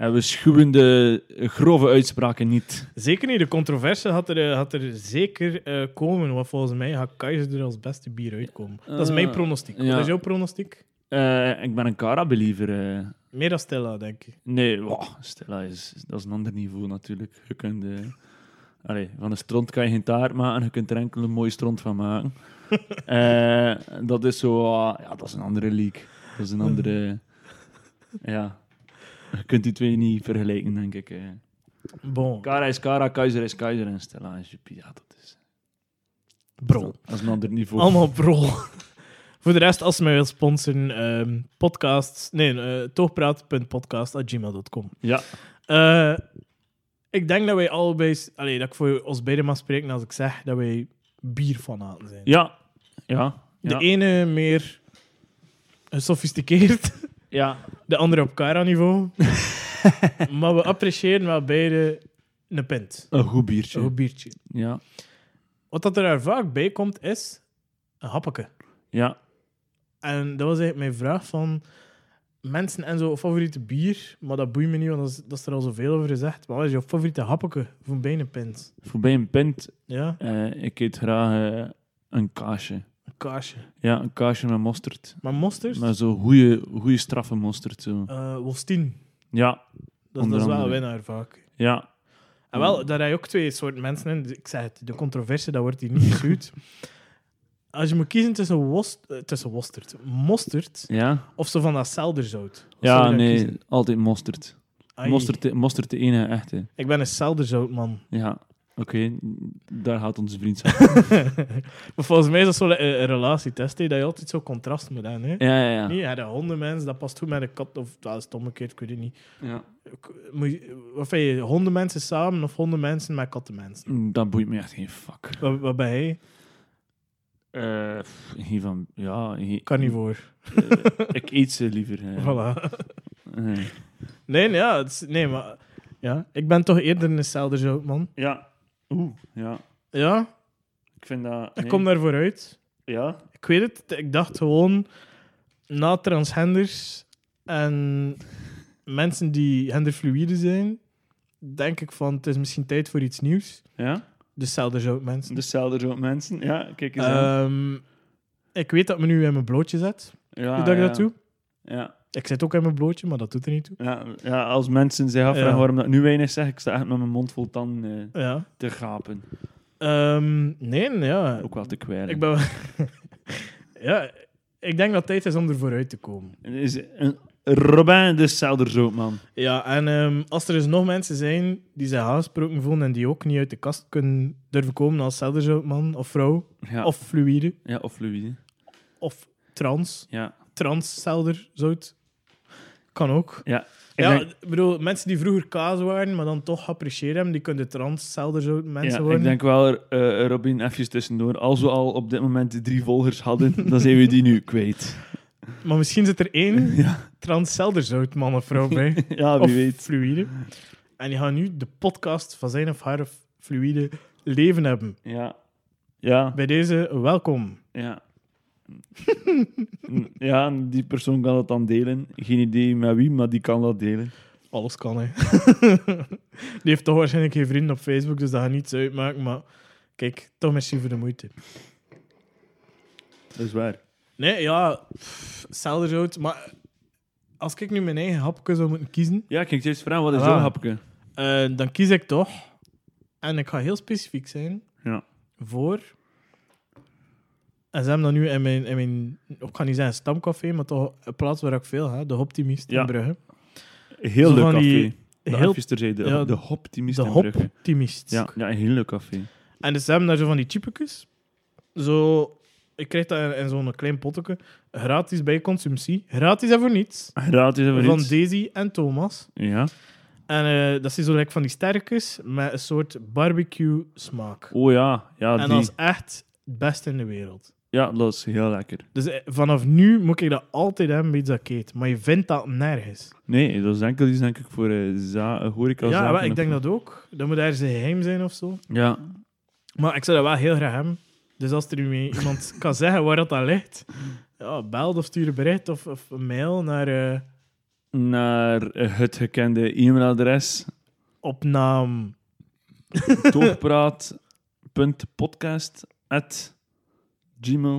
S2: (laughs) en we schuwen de grove uitspraken niet.
S1: Zeker niet. De controverse had er, eh, had er zeker eh, komen. Want volgens mij gaat Kaiser er als beste bier uitkomen. dat is mijn
S2: Eh,
S1: pronostiek.
S2: ja.
S1: Wat is jouw pronostiek?
S2: Eh, ik ben een Cara-believer. eh.
S1: Meer dan Stella, denk ik.
S2: Nee, wow, Stella is, is- dat is een ander niveau natuurlijk. Je kunt, eh, allee, van een stront kan je geen taart maken, je kunt er enkel een mooie stront van (laughs) maken. Eh, dat is zo, ah, ja, dat is een andere league. Dat is een andere, ja. Je kunt die twee niet vergelijken, denk ik. eh.
S1: Bon,
S2: Kara is Kara, Keizer is Keizer en Stella is Juppie. Ja, dat is,
S1: bro.
S2: dat is een ander niveau.
S1: Allemaal brol. (laughs) Voor de rest, als je mij wilt sponsoren, ehm podcast. Nee, eh, toogpraat.podcast.gmail.com.
S2: Ja,
S1: Eh, ik denk dat wij allebei. s- Allee, dat ik voor ons beiden mag spreken als ik zeg dat wij bierfanaten zijn.
S2: ja, ja,
S1: De
S2: ja,
S1: ene meer gesofisticeerd, (laughs)
S2: ja,
S1: de andere op (laughs) Cara-niveau. maar we appreciëren wel beide een pint.
S2: een goed
S1: Een
S2: biertje.
S1: goed biertje.
S2: Ja,
S1: Wat dat er daar vaak bij komt, is een happeke.
S2: ja,
S1: En dat was eigenlijk mijn vraag van mensen en zo favoriete bier. Maar dat boeit me niet, want dat is, dat is er al zoveel over gezegd. Maar wat is jouw favoriete happeke voor bij een pint?
S2: voorbij een pint.
S1: Ja,
S2: eh, ik eet graag eh, een kaasje.
S1: een kaasje.
S2: Ja, een kaasje met mosterd.
S1: Maar mosterd?
S2: Maar zo goede, goede straffe mosterd. Zo.
S1: eh Wolstien.
S2: Ja,
S1: Dat, is- dat
S2: Onder
S1: is wel een
S2: andere.
S1: winnaar vaak.
S2: ja,
S1: En wel, daar heb je ook twee soorten mensen in. Ik zei het, de controverse, dat wordt hier
S2: (laughs)
S1: niet gestuurd. Als je moet kiezen tussen, wost, eh, tussen wosterd, mosterd
S2: ja.
S1: of zo van dat selderzout. Wat zou je
S2: Ja,
S1: dan
S2: nee,
S1: kiezen?
S2: altijd mosterd.
S1: Ai,
S2: mosterd. Mosterd de enige echte.
S1: Ik ben een selderzoutman.
S2: Ja, oké, daar gaat onze vriend zijn.
S1: (laughs) maar volgens mij is dat zo'n eh, een relatietest, hè, dat je altijd zo contrast moet hebben. Hè?
S2: ja, ja, ja.
S1: Nee, (laughs) ja, de hondenmens, dat past goed met een kat. Of dat is het omgekeerd, ik weet het niet.
S2: ja.
S1: Ik- Moet je, wat vind je, hondenmensen samen of hondenmensen met kattenmensen?
S2: Dat boeit me echt geen fuck.
S1: Wat, wat ben jij?
S2: Eh, pff, geen van, ja, geen-
S1: Carnivoor.
S2: eh, ik eet ze liever. eh.
S1: Voilà.
S2: Eh,
S1: Nee, nee, ja, het is- nee, maar ja, ik ben toch eerder een Selderzout, man.
S2: ja, oeh, ja.
S1: Ja,
S2: Ik vind dat...
S1: ik
S2: nee.
S1: kom daar vooruit.
S2: Ja,
S1: Ik weet het, ik dacht gewoon na transgenders en mensen die genderfluïde zijn, denk ik van het is misschien tijd voor iets nieuws.
S2: ja.
S1: Dus Selderzout, mensen.
S2: De celders ook mensen. Ja, kijk eens aan.
S1: Ehm, ik weet dat me nu in mijn blootje zet.
S2: Ja,
S1: Hoe dat ik
S2: Ah, ja.
S1: dat doe.
S2: Ja.
S1: Ik zit ook in mijn blootje, maar dat doet er niet toe.
S2: Ja, ja, als mensen zich afvragen
S1: Ja.
S2: waarom dat nu weinig zeg, ik sta echt met mijn mond vol tanden eh,
S1: Ja.
S2: te gapen.
S1: Ehm, nee, ja.
S2: Ook wel te kwijlen.
S1: Ik ben wel- (laughs) ja, ik denk dat het tijd is om er vooruit te komen.
S2: Het Is een Robin de Selderzootman.
S1: Ja, en ehm, als er dus nog mensen zijn die zich aangesproken voelen en die ook niet uit de kast kunnen durven komen als man of vrouw,
S2: Ja.
S1: of fluïde,
S2: ja, of Louis.
S1: of trans,
S2: Ja.
S1: trans zout, kan ook.
S2: Ja. Ik
S1: Ja,
S2: denk,
S1: ik bedoel, mensen die vroeger kaas waren, maar dan toch geapprecieerd hebben, die kunnen trans zout mensen
S2: ja,
S1: worden.
S2: ik denk wel, eh, Robin, even tussendoor. Als we al op dit moment drie volgers hadden, (laughs) dan zijn we die nu kwijt.
S1: Maar misschien zit er één (laughs)
S2: Ja,
S1: trans zout man of vrouw bij.
S2: ja wie
S1: of
S2: weet.
S1: fluïde. En die gaan nu de podcast van zijn of haar fluïde leven hebben.
S2: Ja. Ja,
S1: Bij deze, welkom.
S2: ja. Ja, en die persoon kan dat dan delen. Geen idee met wie, maar die kan dat delen.
S1: Alles kan, hè. (laughs) Die heeft toch waarschijnlijk geen vrienden op Facebook, dus dat gaat niets uitmaken. Maar kijk, toch merci voor de moeite.
S2: Dat is waar.
S1: Nee, ja, pff, hetzelfde rood. Maar als ik nu mijn eigen hapje zou moeten kiezen,
S2: Ja, kijk, juist vragen, wat is
S1: Ah.
S2: jouw hapje?
S1: eh, dan kies ik toch. En ik ga heel specifiek zijn
S2: Ja.
S1: voor. En ze hebben dan nu in mijn, in mijn, ik ga niet zeggen stamcafé, maar toch een plaats waar ik veel ga, de Optimist
S2: Ja.
S1: in Brugge.
S2: Heel
S1: Zo
S2: leuk
S1: van
S2: café.
S1: die-
S2: de
S1: heel-
S2: heel, terzijde, de,
S1: ja,
S2: de Hoptimist
S1: de
S2: in Brugge.
S1: Optimist.
S2: Ja, ja, een heel leuk café.
S1: En dus ze hebben daar zo van die chipjes. Zo, ik kreeg dat in, in zo'n klein potje. Gratis bij consumptie. Gratis en voor niets.
S2: Gratis hebben we
S1: Van
S2: iets.
S1: Daisy en Thomas.
S2: Ja.
S1: En eh, dat zijn zo like, van die sterkjes met een soort barbecue smaak.
S2: Oh ja, ja,
S1: en
S2: die.
S1: dat is echt het beste in de wereld.
S2: ja, dat is heel lekker.
S1: Dus eh, vanaf nu moet ik dat altijd hebben bij Zakeet. Maar je vindt dat nergens.
S2: Nee, dat is enkel die is denk ik voor eh za eh, horeca
S1: ja, wel, ik denk dat ook. Dat moet ergens een geheim zijn of zo.
S2: Ja,
S1: Maar ik zou dat wel heel graag hebben. Dus als er nu (laughs) iemand kan zeggen waar dat aan ligt, ja, bel of stuur een bericht of, of een mail naar eh,
S2: naar eh, het gekende
S1: (laughs)
S2: e-mailadres
S1: opnaam.
S2: toogpraat.podcast@gmail.com.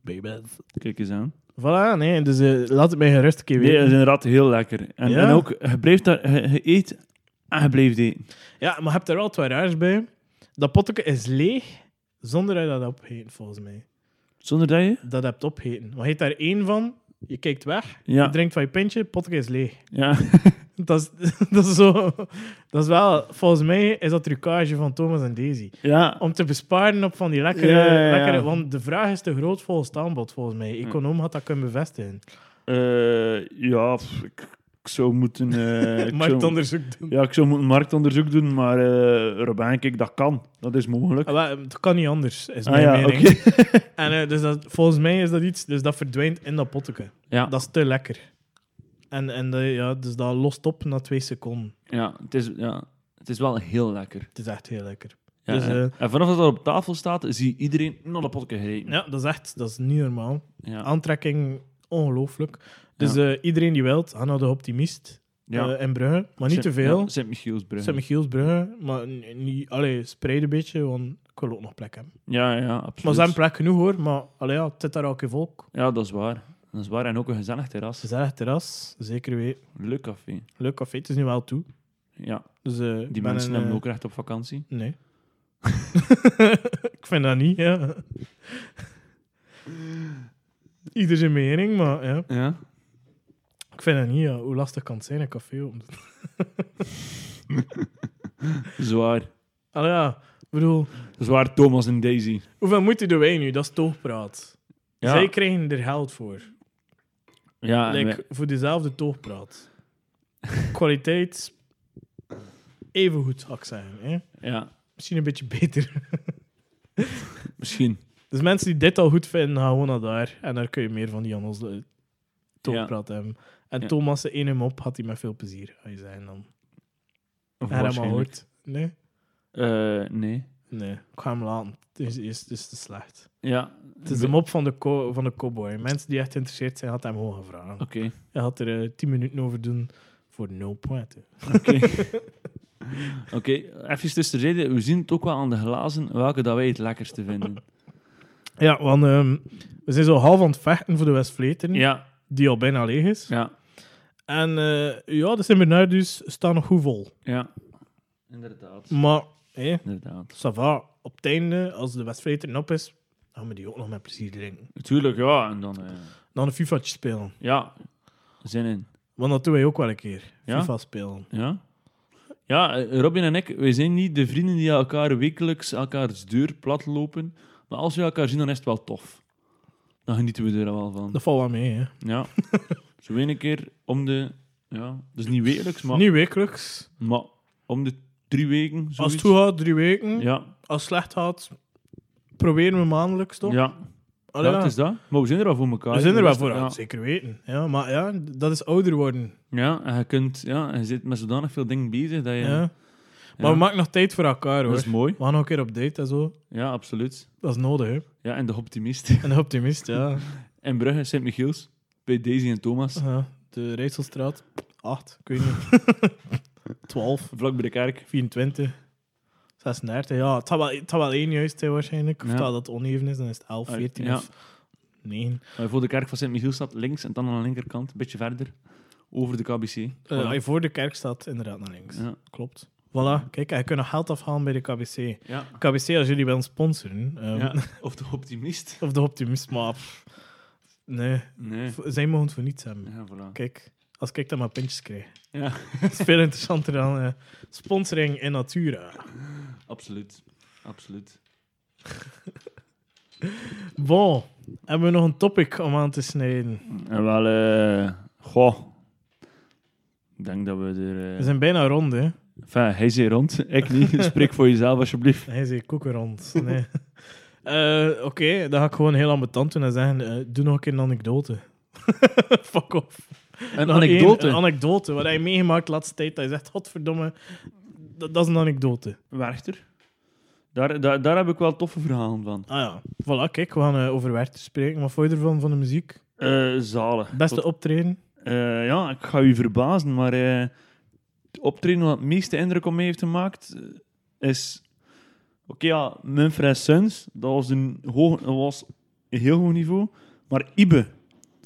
S1: Baby.
S2: Kijk eens aan.
S1: Voilà, nee, dus eh, laat het mij gerust een keer
S2: Nee,
S1: weten.
S2: dat is inderdaad heel lekker. En,
S1: Ja.
S2: en ook, je blijft daar, je, je eet en je blijft eten.
S1: Ja, maar je hebt er wel twee raars bij. Dat potje is leeg zonder dat je dat opheet, volgens mij.
S2: Zonder dat je...
S1: Dat hebt opgegeten. Maar je eet daar één van, je kijkt weg, je
S2: Ja,
S1: drinkt van je pintje, het potje is leeg.
S2: ja. (laughs)
S1: Dat is, (laughs) dat is zo... Dat is wel... Volgens mij is dat trucage van Thomas en Daisy.
S2: ja.
S1: Om te besparen op van die lekkere...
S2: Ja, ja, ja.
S1: lekkere want de vraag is te groot volgens het aanbod, volgens mij. Econoom had dat kunnen bevestigen.
S2: Eh, ja, pff, ik, ik zou moeten...
S1: (laughs)
S2: eh, ik zou-
S1: Marktonderzoek doen.
S2: Ja, ik zou moeten marktonderzoek doen, maar eh Robijn, kijk, dat kan. Dat is mogelijk.
S1: Ah, wel, Het kan niet anders, is
S2: Ah
S1: mijn
S2: ja, oké.
S1: mening. (laughs) En, eh, dus dat, volgens mij is dat iets... Dus dat verdwijnt in dat potje.
S2: Ja,
S1: Dat is te lekker. En, en eh, ja, dus dat lost op na twee seconden.
S2: ja, het is, ja, het is wel heel lekker.
S1: Het is echt heel lekker.
S2: Ja,
S1: Dus,
S2: en,
S1: eh,
S2: en vanaf dat dat op tafel staat, zie je iedereen naar de potje gereden.
S1: Ja, Ah, dat is echt... Dat is niet normaal.
S2: Ja.
S1: aantrekking ongelooflijk. Dus eh, iedereen die wilt, ga naar de Optimist
S2: Ja.
S1: eh, in Brugge. Maar niet te veel.
S2: Ja, Sint-Michielsbrug.
S1: Sint-Michielsbrugge. Maar n- niet, allee, spreid een beetje, want ik wil ook nog plek hebben.
S2: ja, ja, absoluut.
S1: Maar ze hebben plek genoeg hoor, maar allee, ja, het zit daar elke volk.
S2: Ja, dat is waar. Dat is waar. En ook een gezellig terras.
S1: Gezellig terras, zeker weten.
S2: Leuk café.
S1: Leuk café, het is nu wel toe.
S2: Ja,
S1: Dus, eh, ik
S2: die
S1: ben
S2: mensen
S1: een,
S2: hebben
S1: eh,
S2: ook recht op vakantie.
S1: Nee. (laughs) ik vind dat niet, ja. Ieder zijn mening, maar ja.
S2: Ja.
S1: Ik vind dat niet, ja. Hoe lastig kan het zijn, een café om
S2: Zwaar.
S1: Allee, ja, ik bedoel...
S2: Zwaar Thomas en Daisy.
S1: Hoeveel moeite doen wij nu? Dat is toogpraat.
S2: Ja.
S1: Zij krijgen er geld voor.
S2: Ja, en
S1: Like,
S2: wij-
S1: Voor dezelfde toogpraat. Kwaliteit even goed, zou ik zeggen. Hè?
S2: ja,
S1: Misschien een beetje beter.
S2: misschien.
S1: Dus mensen die dit al goed vinden, gaan gewoon naar daar. En daar kun je meer van die Janos eh, toogpraat hebben. En
S2: Ja.
S1: Thomas, één hem op, had hij met veel plezier. Ga je zijn dan.
S2: Of
S1: En hem al
S2: waarschijnlijk.
S1: hoort. Nee?
S2: Eh, nee.
S1: Nee, ik ga hem laten. Het is, is, het is te slecht.
S2: Ja.
S1: Het is de mop van de, co- van de cowboy. Mensen die echt geïnteresseerd zijn, had hem gewoon gevraagd.
S2: Oké.
S1: Hij had er eh, 10 minuten over doen voor nul punten.
S2: Oké. Oké, even tussen de reden. We zien het ook wel aan de glazen welke dat wij het lekkerste vinden.
S1: Ja, want ehm, we zijn zo half aan het vechten voor de Westvleteren,
S2: (laughs) Ja,
S1: die al bijna leeg is.
S2: ja,
S1: En eh, ja, de seminarius staan nog goed vol.
S2: ja. Inderdaad.
S1: Maar, hé,
S2: Inderdaad.
S1: ça va. Op het einde, als de Westvleteren op is, gaan we die ook nog met plezier drinken.
S2: Natuurlijk, ja. En dan, eh,
S1: Dan een FIFA'tje spelen.
S2: ja, zin in.
S1: Want dat doen wij ook wel een keer.
S2: Ja?
S1: FIFA spelen.
S2: Ja. Ja, eh, Robin en ik, wij zijn niet de vrienden die elkaar wekelijks elkaars deur plat lopen. Maar als we elkaar zien, dan is het wel tof. Dan genieten we er wel van.
S1: Dat valt wel mee, hè. (laughs)
S2: Ja. Zo één keer om de... Ja, dus niet wekelijks, maar,
S1: Niet wekelijks.
S2: maar om de drie weken.
S1: Als
S2: Zoiets.
S1: het goed gaat, drie weken.
S2: Ja,
S1: Als het slecht gaat, proberen we maandelijks, toch?
S2: ja.
S1: Allee,
S2: ja, het is dat. Maar we zijn er wel voor elkaar.
S1: We zijn er wel voor,
S2: Ja.
S1: zeker weten. Ja, maar ja, dat is ouder worden.
S2: ja, en je kunt... Ja, en je zit met zodanig veel dingen bezig dat je...
S1: Ja.
S2: Ja,
S1: Maar we maken nog tijd voor elkaar, hoor.
S2: dat is mooi.
S1: We gaan nog een keer op date en zo.
S2: Ja, absoluut.
S1: Dat is nodig, hè.
S2: Ja, en de optimist. (laughs)
S1: Een optimist, ja.
S2: En Brugge, Sint-Michiels, bij Daisy en Thomas,
S1: (laughs) Ja, de Rijsselstraat, 8, ik weet niet.
S2: (laughs)
S1: 12,
S2: vlak bij de kerk.
S1: 24, 36. Ja, het had wel, het had wel één juist zijn waarschijnlijk. Of
S2: Ja.
S1: het had dat het oneven is, dan is het 11,
S2: Ah,
S1: 14
S2: ja.
S1: of 9.
S2: Als je Eh, voor de kerk van Sint-Michiels staat, links en dan aan de linkerkant, een beetje verder, over de KBC.
S1: Eh,
S2: Voilà.
S1: als je voor de kerk staat, inderdaad naar links.
S2: ja.
S1: Klopt. Voilà, kijk, en je kunt nog geld afhalen bij de KBC.
S2: Ja.
S1: KBC, als jullie willen sponsoren, ehm,
S2: ja. (laughs) Of de optimist.
S1: (laughs) of de optimist, maar pff, nee,
S2: Nee.
S1: v- zij mogen het voor niets hebben.
S2: Ja, voilà.
S1: Kijk, als ik dan maar puntjes krijg.
S2: Ja.
S1: (laughs) Dat is veel interessanter dan eh, sponsoring in natura.
S2: Absoluut. Absoluut.
S1: Bon, hebben we nog een topic om aan te snijden?
S2: En wel, eh, goh. Ik denk dat we er... eh,
S1: We zijn bijna rond, hè?
S2: Enfin, hij zei rond, ik niet. (laughs) Spreek voor jezelf, alsjeblieft.
S1: Hij zei koeken
S2: (laughs)
S1: rond. Nee. Eh, Oké, dan ga ik gewoon heel ambetant doen en zeggen: eh, doe nog een keer een anekdote. (laughs) Fuck off.
S2: Een
S1: Nog één, Een
S2: anekdote.
S1: anekdote, wat hij meegemaakt de laatste tijd. Dat je zegt: godverdomme, dat, dat is een anekdote.
S2: Werchter. Daar, daar, daar heb ik wel toffe verhalen van.
S1: Ah ja, voilà, kijk, we gaan eh, over Werther spreken. Wat vond je ervan van de muziek?
S2: Eh zalen.
S1: Beste optreden?
S2: Eh, ja, ik ga u verbazen, maar eh, het optreden wat het meeste indruk op mij heeft gemaakt eh, is. Oké, ja, Mumford Sons, dat was een, hoog, dat was een heel hoog niveau. Maar Ibe,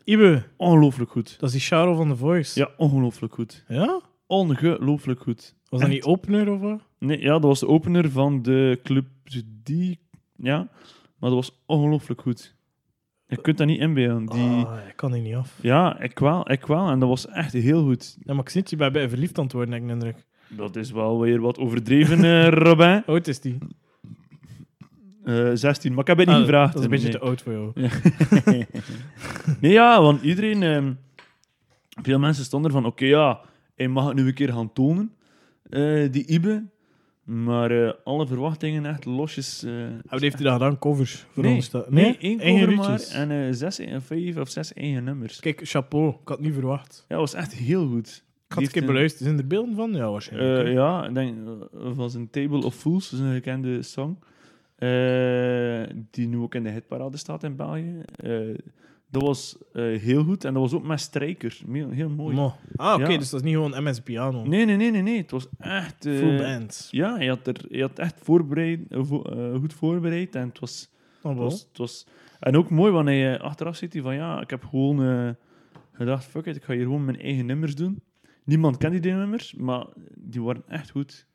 S1: Ibe,
S2: ongelooflijk goed.
S1: dat is die Charo van The Voice.
S2: Ja, ongelooflijk goed.
S1: Ja?
S2: Ongelooflijk goed.
S1: Was dat niet opener of wat?
S2: Nee, ja, dat was de opener van de Club die. Ja, maar dat was ongelooflijk goed. Je kunt dat niet inbeelden. Die,
S1: Ah, ik kan die niet af.
S2: Ja, ik wel, ik wel. En dat was echt heel goed.
S1: Ja, maar ik zit je bij, bij verliefd aan het worden, heb ik de indruk.
S2: Dat is wel weer wat overdreven, eh, Robin.
S1: Hoe oud is die?
S2: Eh, 16, maar ik heb het niet
S1: Ah,
S2: gevraagd.
S1: Dat is een beetje
S2: nee.
S1: te oud voor jou.
S2: Nee, ja, want iedereen... ehm, veel mensen stonden er van, oké, ja, hij mag het nu een keer gaan tonen, eh, die Ibe. Maar eh, alle verwachtingen echt losjes... eh,
S1: Wat heeft hij daar gedaan? Covers voor
S2: nee,
S1: ons? dat-
S2: nee, één
S1: Eigen
S2: cover maar
S1: liedjes.
S2: en eh, zes, eh, vijf of zes eigen nummers.
S1: Kijk, chapeau. Ik had het niet verwacht.
S2: Ja, dat was echt heel goed.
S1: Ik had het een keer beluisterd. Zijn er beelden van? Ja, waarschijnlijk.
S2: Eh, ja, ik denk eh, van zijn Table of Fools, dat is een gekende song. eh, die nu ook in de hitparade staat in België. Eh, dat was eh, heel goed en dat was ook met strijker. Heel, heel mooi.
S1: Mo. Ah, oké.
S2: Ja.
S1: Dus dat is niet gewoon MS Piano.
S2: Nee, nee, nee, nee, nee. Het was echt. eh,
S1: Full band.
S2: Ja, hij had, er, hij had echt voorbereid, eh, vo- eh, goed voorbereid en het was,
S1: Oh,
S2: het
S1: wel.
S2: was, het was. En ook mooi wanneer je achteraf zit hij van ja, ik heb gewoon eh, gedacht: fuck it, ik ga hier gewoon mijn eigen nummers doen. Niemand kende die nummers, maar die waren echt goed.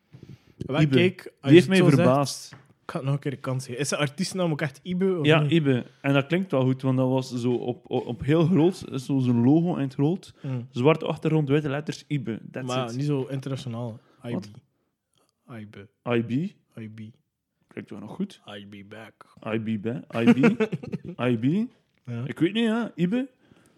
S1: Wel,
S2: Ibe.
S1: kijk, als je
S2: Die heeft
S1: het
S2: mij
S1: zo zegt,
S2: verbaasd.
S1: ik had nog een keer een kans geven. Is de artiestnaam ook echt Ibe? Of
S2: Ja,
S1: niet?
S2: Ibe. En dat klinkt wel goed, want dat was zo op, op, op heel groot, zo zijn logo in het rood.
S1: Hm.
S2: Zwarte achtergrond, witte letters, Ibe. That's
S1: Maar
S2: it.
S1: niet zo internationaal. IB.
S2: Wat?
S1: IB.
S2: IB.
S1: IB.
S2: Klinkt wel nog goed.
S1: IB back.
S2: IB, hè.
S1: (laughs)
S2: IB. IB.
S1: Ja.
S2: Ik weet niet, hè. Ibe.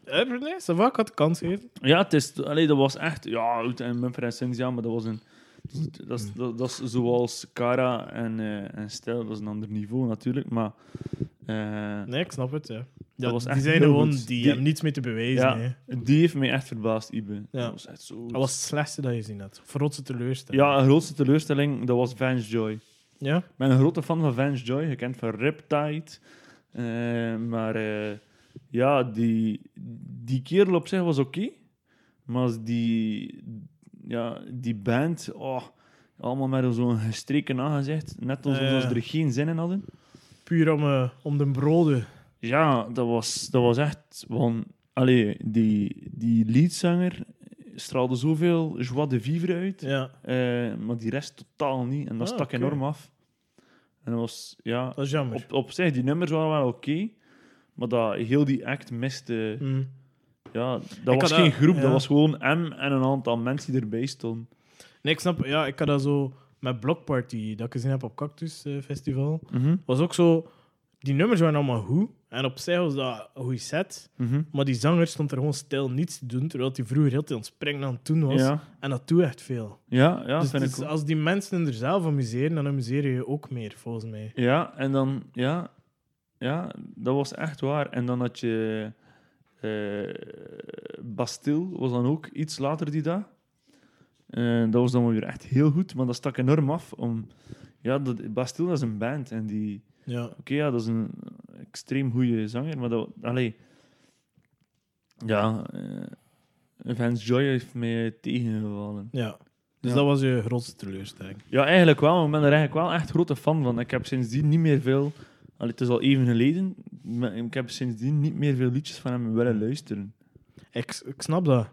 S1: Eh, Nee, ça va, ik had de kans gegeven.
S2: Ja, het is... Allee, dat was echt... Ja, goed, en Mumford en Sons, ja, maar dat was een... dat is- Dat
S1: Mm.
S2: is, dat, dat is zoals Cara en, eh en Stijl, dat is een ander niveau natuurlijk, maar... eh,
S1: Nee, ik snap het, ja. ja
S2: Dat was
S1: die
S2: echt
S1: zijn
S2: heel
S1: gewoon, die,
S2: goed. Die-
S1: hebben niets meer te bewijzen.
S2: Ja.
S1: hè.
S2: die heeft mij echt verbaasd, Ibe. Dat was echt zo... goed.
S1: Dat was het slechtste dat je gezien had. Verrotse teleurstelling.
S2: Ja, de grootste teleurstelling, dat was Vance Joy.
S1: Ja?
S2: Ik ben een grote fan van Vance Joy, gekend van Riptide. Eh, maar eh, ja, die, die kerel op zich was oké. maar als die, ja, die band, oh, allemaal met zo'n gestreken aangezicht. Net alsof
S1: Ja, ja.
S2: ze er geen zin in hadden.
S1: Puur om, eh, om de broden.
S2: Ja, dat was, dat was echt... Want, allee, die, die leadzanger straalde zoveel joie de vivre uit.
S1: Ja,
S2: eh, maar die rest totaal niet. En dat
S1: Ah,
S2: stak
S1: oké.
S2: enorm af. En dat was... Ja,
S1: dat is jammer.
S2: op, op zich, die nummers waren wel oké. maar dat, heel die act miste...
S1: Mm.
S2: Ja, dat
S1: had
S2: was geen
S1: dat-
S2: groep.
S1: ja.
S2: Dat was gewoon hem en een aantal mensen die erbij stonden.
S1: Nee, ik snap, ja, ik had dat zo met Block Party, dat ik gezien heb op Cactus eh, Festival. Was ook zo, die nummers waren allemaal goed. En op zich was dat een goede set. Maar die zanger stond er gewoon stil niets te doen. Terwijl hij vroeger heel veel aan het springen aan het doen was.
S2: Ja,
S1: En dat doet echt veel.
S2: ja, ja
S1: dus
S2: vind
S1: het
S2: ik
S1: is-
S2: ook.
S1: als die mensen er zelf amuseren, dan amuseer je je ook meer, volgens mij.
S2: Ja, en dan... Ja, ja, dat was echt waar. En dan had je... eh Bastille was dan ook iets later die dag. Eh, dat was dan wel weer echt heel goed, maar dat stak enorm af. Om, ja, dat, Bastille dat is een band en die...
S1: Ja.
S2: Oké, ja, dat is een extreem goede zanger, maar dat... Allee. Ja, eh Vance Joy heeft mij tegengevallen.
S1: ja. Dus
S2: Ja.
S1: dat was je grootste teleurstelling.
S2: Ja, eigenlijk wel, maar ik ben er eigenlijk wel echt grote fan van. Ik heb sindsdien niet meer veel... Allee, het is al even geleden, maar ik heb sindsdien niet meer veel liedjes van hem willen luisteren.
S1: Ik, ik snap dat. Je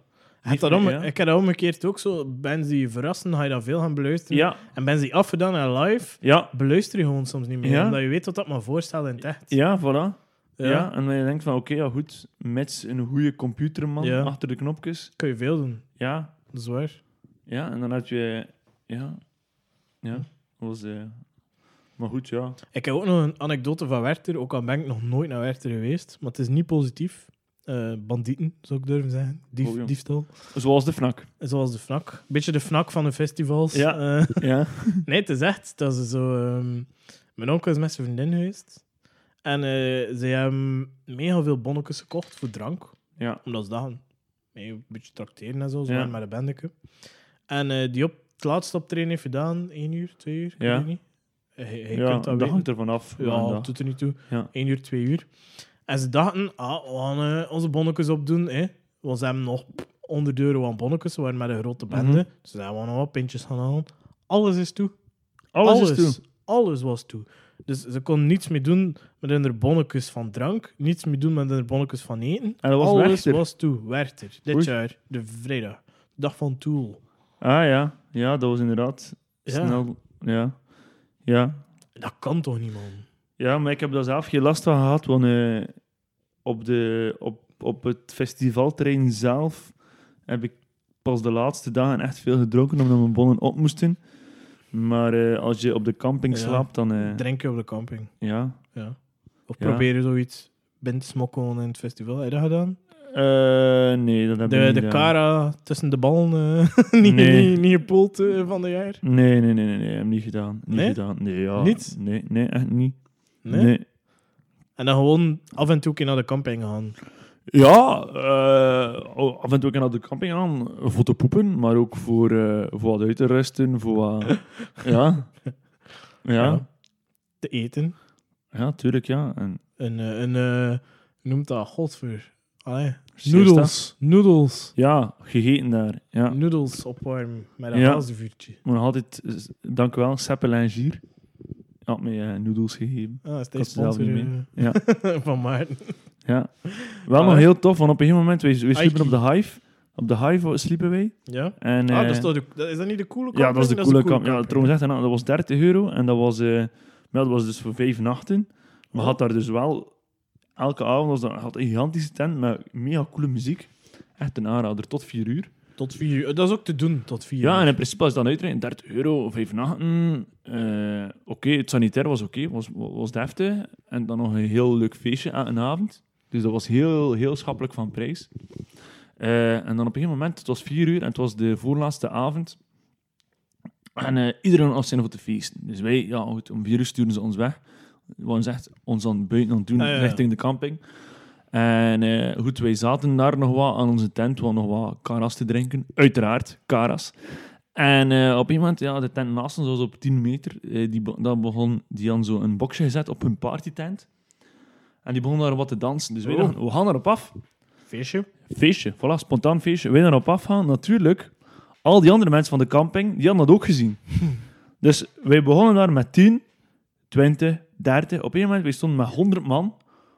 S1: hebt
S2: Niet
S1: dat om,
S2: meer, ja.
S1: Ik heb dat omgekeerd ook zo. Bands die je verrassen, ga je dat veel gaan beluisteren.
S2: Ja,
S1: En bands die afgedaan en live,
S2: ja,
S1: beluister je gewoon soms niet meer.
S2: Ja.
S1: Omdat je weet wat dat me voorstelt in het echt.
S2: ja, voilà. Ja,
S1: Ja.
S2: en dan je denkt van, oké, ja goed, met een goede computerman
S1: Ja.
S2: achter de knopjes.
S1: kun je veel doen.
S2: Ja,
S1: Dat is waar.
S2: Ja, en dan had je... Ja.
S1: Hm.
S2: Ja. Was, eh, maar goed, ja.
S1: Ik heb ook nog een anekdote van Werther, ook al ben ik nog nooit naar Werther geweest. Maar het is niet positief. Eh, bandieten, zou ik durven zeggen. Dief,
S2: Oh, jong.
S1: diefstal.
S2: Zoals de
S1: (laughs)
S2: FNAC.
S1: Zoals de FNAC. Beetje de FNAC van de festivals.
S2: Ja.
S1: Eh,
S2: Ja.
S1: Nee, het is echt. Dat ze zo, ehm, mijn onkel is met zijn vriendin geweest. En eh, ze hebben mega veel bonnetjes gekocht voor drank.
S2: Ja.
S1: Omdat ze dachten, mee een beetje trakteren en zo. Ze
S2: Ja.
S1: waren met een bandeke. En eh, die op het laatste optreden heeft gedaan. één uur, twee uur, ik
S2: Ja.
S1: weet het niet. Eh, Je, je
S2: ja,
S1: kunt dat
S2: dat
S1: weten.
S2: hangt ervan af.
S1: Ja,
S2: Ja,
S1: het doet er niet toe.
S2: Ja.
S1: Eén uur, twee uur. En ze dachten, ah, we gaan eh, onze bonnetjes opdoen. Hè. Want ze hebben nog onder de euro aan bonnetjes. Ze waren met een grote bende.
S2: Mhm.
S1: Dus ze hebben nog wat pintjes gaan halen. Alles is toe.
S2: alles, is toe.
S1: Alles was toe. Dus ze kon niets meer doen met hun bonnetjes van drank. Niets meer doen met hun bonnetjes van eten.
S2: En dat was
S1: Alles
S2: Werchter.
S1: was toe. Werchter. Dit
S2: Oei.
S1: jaar. De vrijdag. Dag van Tool.
S2: Ah ja. Ja, dat was inderdaad
S1: Ja.
S2: snel... Ja. Ja.
S1: Dat kan toch niet, man?
S2: Ja, maar ik heb daar zelf geen last van gehad, want eh, op, de, op, op het festivalterrein zelf heb ik pas de laatste dagen echt veel gedronken, omdat mijn bonnen op moesten. Maar eh, als je op de camping
S1: Ja.
S2: slaapt, dan... eh,
S1: Drinken op de camping.
S2: ja,
S1: Ja. Of
S2: Ja.
S1: proberen zoiets. Bent smokkelen in het festival. Heb je dat gedaan?
S2: Eh, nee, dat heb ik
S1: De,
S2: niet
S1: de
S2: gedaan.
S1: Cara tussen de ballen. eh, (laughs) niet,
S2: Nee.
S1: niet, niet gepoeld eh, van de jaar.
S2: Nee, nee, nee, nee, nee, heb ik niet gedaan. Niet
S1: Nee?
S2: gedaan. Nee, ja.
S1: Niet?
S2: Nee, nee, echt niet.
S1: Nee?
S2: Nee.
S1: En dan gewoon af en toe een keer naar de camping gaan.
S2: Ja, eh, oh, af en toe kan ik naar de camping aan voor te poepen, maar ook voor, eh, voor wat uit te rusten, voor
S1: (laughs)
S2: wat... ja.
S1: Ja.
S2: Ja.
S1: Te eten.
S2: Ja, tuurlijk, ja. En
S1: Een, eh, een eh, hoe noemt dat godver. Ah, Allee.
S2: siesta.
S1: Noedels. Mm. Noedels.
S2: Ja, gegeten daar. Ja.
S1: Noedels opwarmen met een
S2: Ja.
S1: hazenvuurtje.
S2: Maar nog altijd, s- dank u wel, Seppel en Gier. Had mij eh, noedels gegeven.
S1: Ah, dat
S2: Ik had
S1: is
S2: ze zelf
S1: sponsor
S2: niet
S1: eh,
S2: Ja.
S1: (laughs) van Maarten.
S2: Ja. Wel nog
S1: Allee.
S2: heel tof, want op een gegeven moment, we, we sliepen op
S1: Aiki.
S2: de Hive. Op de Hive sliepen wij.
S1: Ja?
S2: En,
S1: ah,
S2: eh,
S1: dat is, toch de, dat, is dat niet de coole camping?
S2: ja, dat was de
S1: is
S2: coole kamp. Ja,
S1: camping.
S2: trouwens, echt, nou, dat was 30 euro en dat was, eh, maar dat was dus voor vijf nachten. We
S1: Oh.
S2: had daar dus wel elke avond was dat, had een gigantische tent met mega coole muziek. Echt een aanrader, tot vier uur.
S1: Tot vier uur. Dat is ook te doen, tot vier
S2: Ja,
S1: uur.
S2: en in principe was dan uitrekenen 30 euro, vijf nachten. eh, oké, het sanitair was oké, was, was deftig. En dan nog een heel leuk feestje aan een avond. Dus dat was heel, heel schappelijk van prijs. Eh, en dan op een gegeven moment, het was vier uur en het was de voorlaatste avond. En eh, iedereen was zin voor te feesten. Dus wij, ja goed, om vier uur sturen ze ons weg. We waren ze echt ons aan het buiten aan het doen,
S1: Ah, ja, ja.
S2: richting de camping. En eh, goed, wij zaten daar nog wat aan onze tent, wat nog wat karas te drinken. Uiteraard, karas. En eh, op iemand, ja, de tent naast ons was op 10 meter. eh, die, be- dan begon, die hadden zo een boxje gezet op hun partytent. En die begon daar wat te dansen. Dus wij
S1: Oh.
S2: dachten, we gaan erop af.
S1: Feestje.
S2: Feestje, voilà, spontaan feestje. Wij daarop afgaan, natuurlijk. Al die andere mensen van de camping, die hadden dat ook
S1: (laughs)
S2: gezien. Dus wij begonnen daar met 10, 20, 30. Op een gegeven moment, wij stonden met 100 man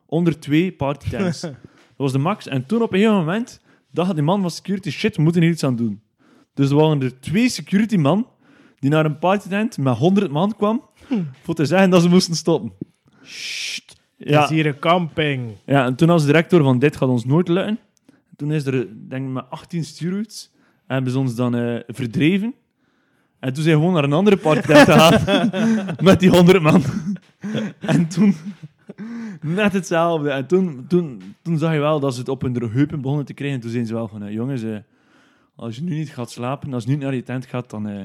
S2: onder twee
S1: (laughs)
S2: partytents. dat was de max. En toen op een gegeven moment dacht die man van security, shit, we moeten hier iets aan doen. Dus er waren er twee security man die naar een partytent met 100 man kwam voor te zeggen dat ze moesten stoppen.
S1: Hm. Sst.
S2: Ja.
S1: Het is hier een camping.
S2: Ja, en toen als directeur van dit gaat ons nooit lukken. Toen is er, denk ik, maar 18 stuurroutes. Hebben ze ons dan eh, verdreven. En toen zijn we gewoon naar een andere partij gegaan. (laughs) met die 100 man. en toen... (laughs) Net hetzelfde. En toen, toen, toen zag je wel dat ze het op hun heupen begonnen te krijgen. Toen zijn ze wel van, eh, jongens, eh, als je nu niet gaat slapen, als je niet naar je tent gaat, dan, eh,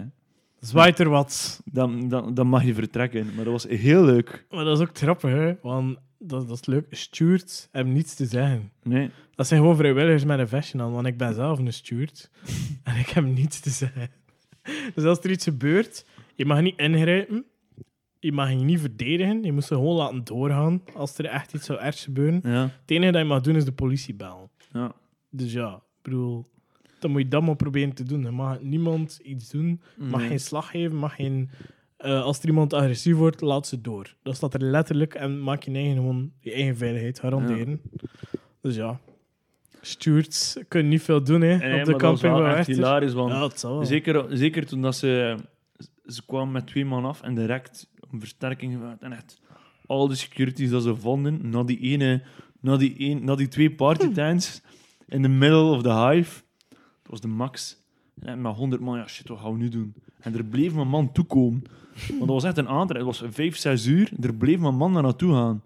S1: Zwaait er wat.
S2: dan, dan, dan mag je vertrekken. Maar dat was heel leuk.
S1: Maar dat is ook grappig, hè? Want dat, dat is leuk. Stuurt hem niets te zeggen.
S2: Nee.
S1: Dat zijn gewoon vrijwilligers met een vestje aan, want ik ben zelf een steward. En ik heb niets te zeggen. Dus als er iets gebeurt, je mag niet ingrijpen. je mag je niet verdedigen. Je moet ze gewoon laten doorgaan als er echt iets zou ergs gebeuren.
S2: Ja,
S1: Het enige dat je mag doen is de politie bellen.
S2: ja.
S1: Dus ja, ik bedoel, dan moet je dat maar proberen te doen. Je mag niemand iets doen, mag
S2: Nee.
S1: geen slag geven, mag geen. eh, als er iemand agressief wordt, laat ze door. Dat staat er letterlijk en maak je eigen gewoon je eigen veiligheid garanderen. Dus ja, stewards kunnen niet veel doen hè,
S2: Nee,
S1: op de
S2: maar dat was
S1: camping
S2: wel
S1: van
S2: echt
S1: Werchter.
S2: hilarisch, Dus want
S1: Ja, het zal wel.
S2: Zeker, zeker toen dat ze, ze kwamen met twee man af en direct om versterking gevraagd. En echt, al de securities dat ze vonden, na die, ene, na die, een, na die twee partytents in the middle of the hive, dat was de max. En met 100 man, ja shit, wat gaan we nu doen? En er bleef mijn man toekomen. Want dat was echt een aantal. Het was 5, 6 uur. Er bleef mijn man daar naartoe gaan.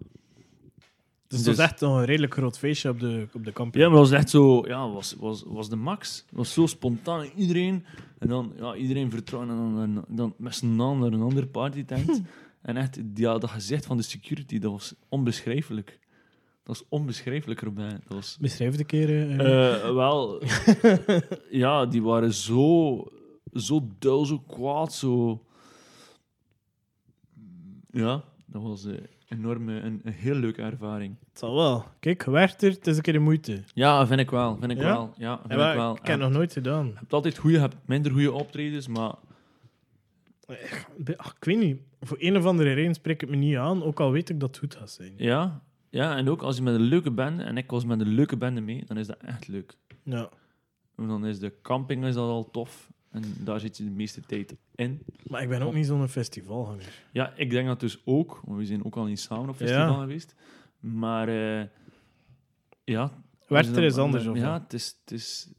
S1: Dus het
S2: Dus-
S1: was echt nog een redelijk groot feestje op de, op de camping.
S2: Ja, maar dat was echt zo, ja, was, was, was de max. Het was zo spontaan. en Iedereen, en dan, ja, iedereen vertrouwen en dan, en dan met z'n allen naar een andere party tent. en echt, ja, dat gezicht van de security, dat was onbeschrijfelijk. Dat was onbeschrijfelijk erbij. Dat was,
S1: Beschrijf het een keer. eh,
S2: Eh, wel, ja, die waren zo, zo duil, zo kwaad, zo... Ja, dat was eh, enorm, eh, een, een heel leuke ervaring.
S1: het zal wel. Kijk, Werchter, het is een keer de moeite.
S2: Ja, vind ik wel, vind ik
S1: Ja?
S2: wel. Ja, vind
S1: Ja, maar
S2: ik wel.
S1: ik heb het
S2: Ja.
S1: nog nooit gedaan.
S2: Je hebt altijd goede, je hebt minder goede optredens, maar
S1: Ach, ik weet niet. Voor een of andere reden spreekt het me niet aan, ook al weet ik dat het goed gaat zijn.
S2: ja. Ja, en ook als je met een leuke bende, en ik was met een leuke bende mee, dan is dat echt leuk.
S1: Ja.
S2: En dan is de camping is dat al tof. En daar zit je de meeste tijd in.
S1: Maar ik ben ook niet zo'n festivalganger.
S2: Ja, ik denk dat dus ook, want we zijn ook al niet samen op festival
S1: Ja.
S2: geweest. Maar eh, ja. Dus
S1: Werchter is anders, of
S2: Ja,
S1: wat?
S2: het is, het is,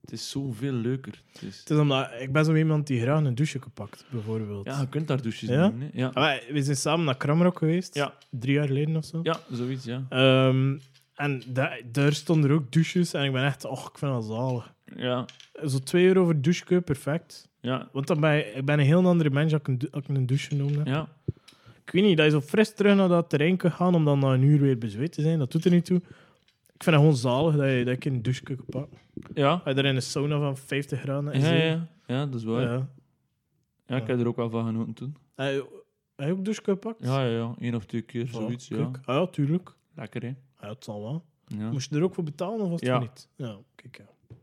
S2: het is zoveel leuker. Het is,
S1: Het is omdat ik ben zo iemand die graag een douche pakt, bijvoorbeeld.
S2: ja, je kunt daar douches
S1: Ja?
S2: nemen. hè. Ja.
S1: Ah, wij- we zijn samen naar Kramrock geweest,
S2: Ja.
S1: drie jaar geleden of zo.
S2: ja, zoiets, ja.
S1: Ehm, en da- daar stonden er ook douches en ik ben echt, och, ik vind dat zalig.
S2: Ja,
S1: Zo 2 euro voor douchekeu, perfect.
S2: ja,
S1: Want dan ben je- ik ben een heel andere mens als ik een, dou- als ik een douche noemde.
S2: ja.
S1: Ik weet niet, dat je zo fris terug naar dat terrein kunt gaan om dan na een uur weer bezweet te zijn, dat doet er niet toe. Ik vind het gewoon zalig dat je, dat je een douche kunt pakken.
S2: Ja,
S1: Als je daar in een sauna van 50 graden in
S2: ja,
S1: zit.
S2: ja, ja, dat is waar.
S1: Ja.
S2: Ja, ik heb er ook wel van genoten toen.
S1: Heb je- heb je ook douche gepakt?
S2: Ja, ja, ja. Eén of twee keer,
S1: Ja,
S2: zoiets, ja.
S1: kijk. Ah, ja, tuurlijk.
S2: Lekker, hè.
S1: Ja, het zal wel.
S2: Ja,
S1: Moest je er ook voor betalen of was het
S2: Ja.
S1: niet? Ja, kijk ja.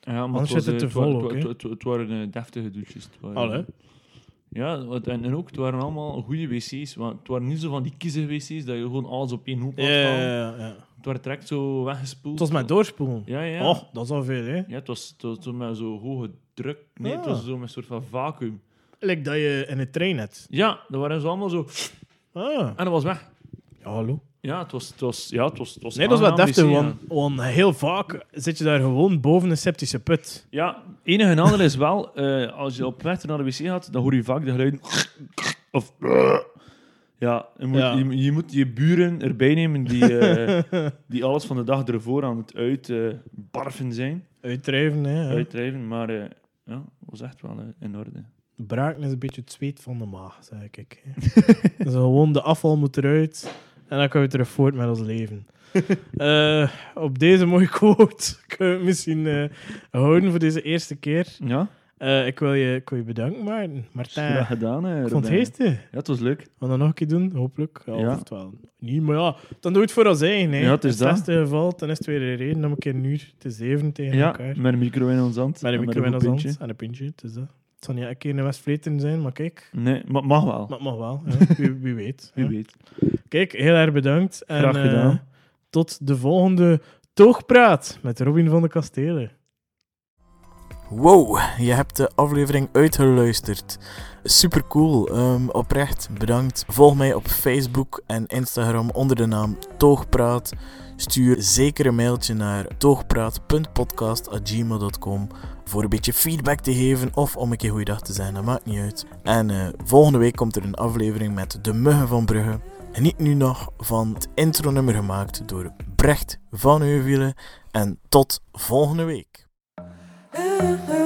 S2: ja maar
S1: Anders
S2: was,
S1: zit het
S2: eh,
S1: te
S2: wa-
S1: vol
S2: wa-
S1: ook, hè.
S2: het, het- het waren eh, deftige douches. Het waren,
S1: Allee.
S2: Ja, wat- en, en ook, het waren allemaal goede wc's. Want het waren niet zo van die kiezen wc's, dat je gewoon alles op één hoop had
S1: Ja, ja,
S2: vallen.
S1: ja, ja.
S2: Het werd direct zo weggespoeld.
S1: Het was met doorspoelen.
S2: Ja, ja.
S1: Oh, dat is al veel, hè.
S2: Ja, het was, het was zo met zo hoge druk. Nee, het
S1: Ah.
S2: was zo met een soort van vacuüm.
S1: Like dat je in het trein hebt.
S2: Ja, dat waren ze allemaal zo...
S1: Ah.
S2: En dat was weg.
S1: Ja, hallo.
S2: Ja, het was... Het was ja, het was, het was
S1: Nee, dat is wel
S2: aangenaam
S1: deftig,
S2: wc, ja.
S1: want, want heel vaak zit je daar gewoon boven een septische put.
S2: Ja, enige en ander is wel, eh, als je op weg naar de wc gaat, dan hoor je vaak de geluiden. Of. Ja, je moet
S1: Ja.
S2: Je, je moet je buren erbij nemen die, eh, die alles van de dag ervoor aan het uitbarven zijn,
S1: Uitdrijven, hè. ja.
S2: uitdrijven. Maar eh ja, was echt wel eh, in orde.
S1: Braken is een beetje het zweet van de maag, zeg ik.
S2: (laughs)
S1: hè. dus gewoon de afval moet eruit en dan kunnen we terug voort met ons
S2: (laughs)
S1: leven. Eh, op deze mooie quote (laughs) kunnen we het misschien eh, houden voor deze eerste keer.
S2: Ja,
S1: Eh, ik, wil je, ik wil je bedanken, Maarten. Martijn,
S2: graag gedaan. eh,
S1: ik vond het
S2: Robijn.
S1: heeste.
S2: Ja, het was leuk.
S1: Gaan we dat nog een keer doen? Hopelijk. Ja,
S2: Ja.
S1: Of het wel. Niet, maar ja, dan doe je het voor ons eigen. Hè.
S2: Ja, het is
S1: In
S2: dat.
S1: het beste geval, dan is het weer een reden om een keer een uur te zeven tegen
S2: Ja,
S1: elkaar.
S2: met een micro in ons hand.
S1: Met
S2: en
S1: een micro
S2: goed
S1: in ons hand
S2: pintje.
S1: en een pintje. Het is dat. Het zal niet een keer in de Westvleten zijn, maar kijk...
S2: Nee, maar mag wel.
S1: Maar het mag wel,
S2: (laughs)
S1: ja. wie, wie weet.
S2: Wie
S1: ja.
S2: weet.
S1: Kijk, heel erg bedankt. En,
S2: Graag gedaan.
S1: eh, tot de volgende Toogpraat met Robin van de Kastelen.
S3: Wow, je hebt de aflevering uitgeluisterd. Super cool, oprecht bedankt. Volg mij op Facebook en Instagram onder de naam Toogpraat. Stuur zeker een mailtje naar toogpraat.podcast.gmail.com voor een beetje feedback te geven of om een keer goeiedag te zijn, dat maakt niet uit. En eh, volgende week komt er een aflevering met De Muggen van Brugge. En niet nu nog van het intronummer gemaakt door Brecht van Heuvelen. En tot volgende week.
S4: ooh, ooh.